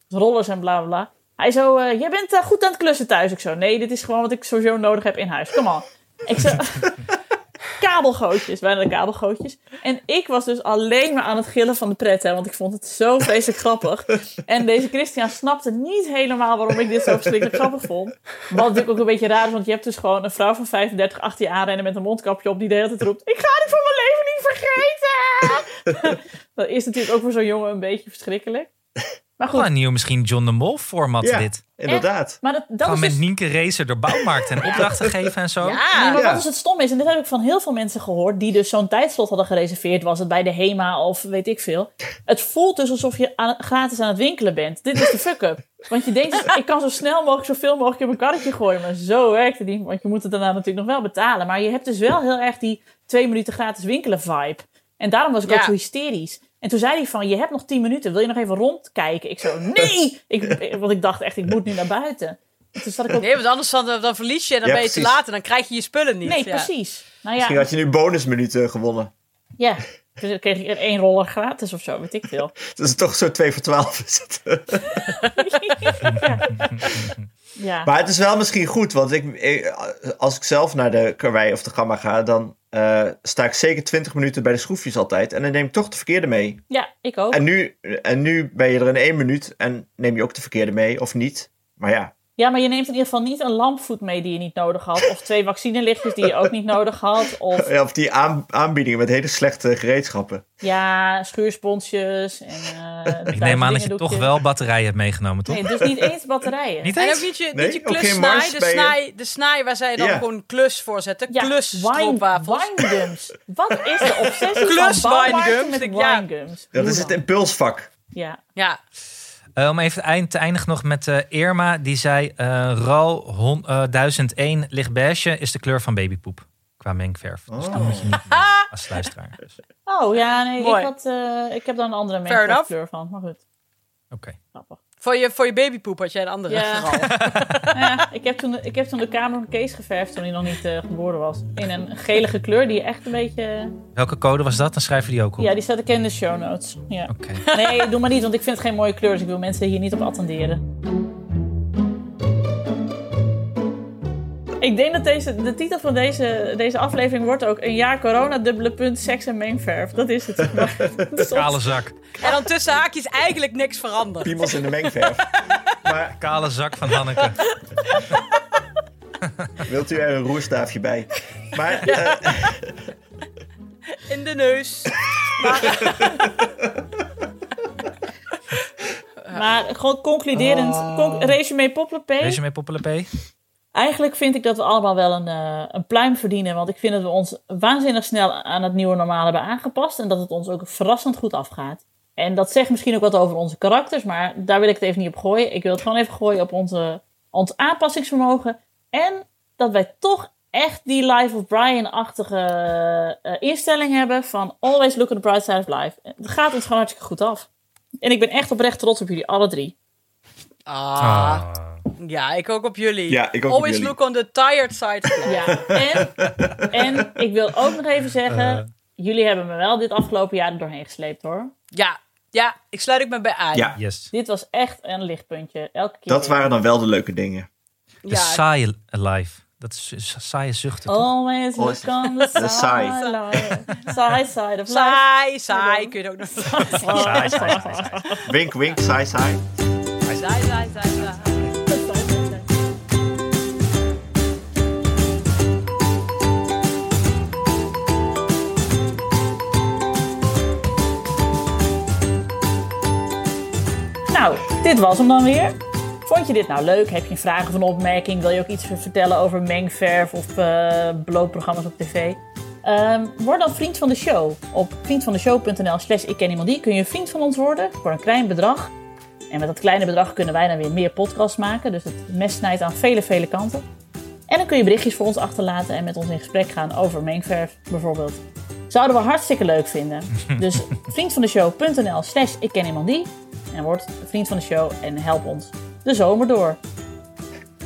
S2: Dus rollers en bla bla bla. Hij zo, eh, jij bent eh, goed aan het klussen thuis. Ik zo, nee, dit is gewoon wat ik sowieso nodig heb in huis. Kom on. Ik zo, kabelgootjes, bijna de kabelgootjes. En ik was dus alleen maar aan het gillen van de pret, hè, want ik vond het zo vreselijk grappig. En deze Christian snapte niet helemaal waarom ik dit zo verschrikkelijk grappig vond. Wat natuurlijk ook een beetje raar is, want je hebt dus gewoon een vrouw van 35 achter je aanrennen met een mondkapje op die de hele tijd roept: Ik ga dit voor mijn leven niet vergeten! Dat is natuurlijk ook voor zo'n jongen een beetje verschrikkelijk. Maar
S4: Wel
S2: goed,
S4: een nieuw misschien John de Mol format
S1: Ja,
S4: dit.
S1: inderdaad.
S2: maar dat, dat
S4: Gewoon
S2: is dus
S4: met Nienke Racer door bouwmarkt en opdrachten geven en zo.
S2: Nee, maar
S1: Ja.
S2: wat dus het stom is, en dit heb ik van heel veel mensen gehoord... die dus zo'n tijdslot hadden gereserveerd, was het bij de HEMA of weet ik veel. Het voelt dus alsof je aan- gratis aan het winkelen bent. Dit is de fuck-up. Want je denkt, ik kan zo snel mogelijk zoveel mogelijk in mijn karretje gooien. Maar zo werkt het niet, want je moet het daarna natuurlijk nog wel betalen. Maar je hebt dus wel heel erg die twee minuten gratis winkelen vibe. En daarom was ik
S3: Ja.
S2: ook zo hysterisch. En toen zei hij van, je hebt nog tien minuten, wil je nog even rondkijken? Ik zo, nee! Ik, want ik dacht echt, ik moet nu naar buiten. En toen zat ik ook,
S3: Nee, want anders dan, dan verlies je en dan
S1: Ja,
S3: ben je te
S1: precies.
S3: laat en dan krijg je je spullen niet.
S2: nee,
S3: Ja.
S2: precies. Nou ja,
S1: Misschien had je nu bonusminuten gewonnen.
S2: Ja, dus dan kreeg ik er één roller gratis of zo, weet ik veel.
S1: Dat is toch zo 2 voor 12. is het.
S2: Ja,
S1: Maar het is wel misschien goed, want ik, ik- als ik zelf naar de karwei of de gamma ga, dan eh, sta ik zeker 20 minuten bij de schroefjes altijd. En dan neem ik toch de verkeerde mee.
S2: ja ik ook.
S1: En nu, en nu ben je er in één minuut en neem je ook de verkeerde mee, of niet. Maar ja,
S2: Ja, maar je neemt in ieder geval niet een lampvoet mee die je niet nodig had. Of twee vaccinelichtjes die je ook niet nodig had. Of
S1: Ja, Eh, of die aan- aanbiedingen met hele slechte gereedschappen.
S2: ja, schuursponsjes. En, eh,
S4: Ik
S2: duizend
S4: neem aan dat je
S2: dingen
S4: toch
S2: doekjes.
S4: wel batterijen hebt meegenomen, toch?
S2: Nee, dus niet eens batterijen.
S4: Niet
S3: En
S4: eens?
S3: ook niet je,
S1: Nee,
S3: niet je
S1: ook geen
S3: klussnaai,
S1: mars
S3: de
S1: bij je.
S3: snaai, de snaai waar zij dan
S1: Ja.
S3: gewoon klus voor zetten.
S2: ja,
S3: klus
S2: wine,
S3: stroopwafels.
S2: winegums. Wat is de obsessie
S3: Klus
S2: van bouwmarkten
S3: winegums,
S2: met
S3: ik- ja.
S2: winegums?
S1: Dat
S2: Hoe
S1: is het
S2: dan?
S1: impulsvak.
S2: Ja,
S3: Ja,
S4: Eh, om even eind, te eindigen nog met eh, Irma. Die zei, eh RAL hon- eh, 1001 licht beige is de kleur van babypoep. Qua mengverf. Dus dat moet je niet doen als luisteraar. Dus, Oké.
S2: Oh ja, nee,
S3: Mooi.
S2: ik, had, eh, ik heb daar een andere
S3: Fair enough.
S2: kleur van. Maar goed, grappig.
S3: voor je, voor je babypoep had jij een andere.
S2: Ja.
S3: verhaal.
S2: Ja, ik, heb toen de, ik heb toen de kamer van Kees geverfd toen hij nog niet eh, geboren was. In een gelige kleur die echt een beetje...
S4: Welke code was dat? Dan schrijven we die ook op.
S2: Ja, die staat ik in de show notes. Ja.
S4: Oké.
S2: Nee, doe maar niet, want ik vind het geen mooie kleur. Dus ik wil mensen hier niet op attenderen. Ik denk dat deze, de titel van deze, deze aflevering wordt ook... Een jaar corona, dubbele punt, seks en mengverf. Dat is het. Maar, het is
S4: Kale zak.
S3: En dan tussen haakjes eigenlijk niks veranderd.
S1: Piemels in de mengverf. maar
S4: Kale zak van Hanneke.
S1: wilt u er een roerstaafje bij? Maar eh,
S3: In de neus.
S2: maar gewoon concluderend. Con resume Poppelepee.
S4: Wees je mee, Poppelepee?
S2: Eigenlijk vind ik dat we allemaal wel een, eh, een pluim verdienen. Want ik vind dat we ons waanzinnig snel aan het nieuwe normaal hebben aangepast. En dat het ons ook verrassend goed afgaat. En dat zegt misschien ook wat over onze karakters. Maar daar wil ik het even niet op gooien. Ik wil het gewoon even gooien op onze, ons aanpassingsvermogen. En dat wij toch echt die Life of Brian-achtige eh, instelling hebben van always look on the bright side of life. Het gaat ons gewoon hartstikke goed af. En ik ben echt oprecht trots op jullie, alle drie.
S3: Ah,
S4: Ah.
S3: ja, ik ook op jullie.
S1: Ja, ik ook op
S3: Always
S1: jullie.
S3: look on the tired side. of life.
S2: Ja, en, en ik wil ook nog even zeggen, jullie hebben me wel dit afgelopen jaar er doorheen gesleept hoor.
S3: ja, ja, ik sluit ook me bij aan.
S1: Ja,
S4: Yes.
S2: Dit was echt een lichtpuntje, elke keer.
S1: dat
S2: weer.
S1: waren dan wel de leuke dingen.
S4: De saaie life. Dat is is saaie zuchten. toch?
S2: Always look on the
S1: The side.
S2: side, side, side of life.
S3: Saai, saai, kun je het ook nog saai,
S4: Saai, saai, saai, saai.
S1: Wink, wink, saai, saai.
S3: saai, saai, saai.
S2: Nou, dit was hem dan weer. Vond je dit nou leuk? Heb je vragen of een opmerking? Wil je ook iets vertellen over mengverf of eh blootprogramma's op tv? Ehm, word dan vriend van de show. Op vriendvandeshow.nl slash ik ken iemand die kun je vriend van ons worden voor een klein bedrag. En met dat kleine bedrag kunnen wij dan weer meer podcasts maken. Dus het mes snijdt aan vele, vele kanten. En dan kun je berichtjes voor ons achterlaten en met ons in gesprek gaan over mengverf bijvoorbeeld. Zouden we hartstikke leuk vinden. Dus vriendvandeshow.nl slash ik ken iemand die. En word vriend van de show en help ons de zomer door.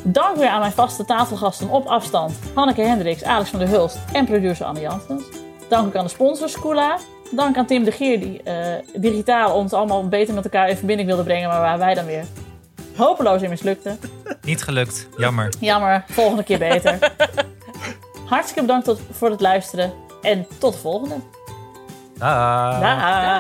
S2: Dank weer aan mijn vaste tafelgasten op afstand. Hanneke Hendricks, Alex van der Hulst en producer Anne Janssens. Dank ook aan de sponsors Scula. Dank aan Tim de Geer die eh, digitaal ons allemaal beter met elkaar in verbinding wilde brengen. Maar waar wij dan weer hopeloos in mislukten.
S4: Niet gelukt. Jammer.
S2: Jammer, volgende keer beter. Hartstikke bedankt tot, voor het luisteren. En tot de volgende.
S4: Daag.
S2: Daag.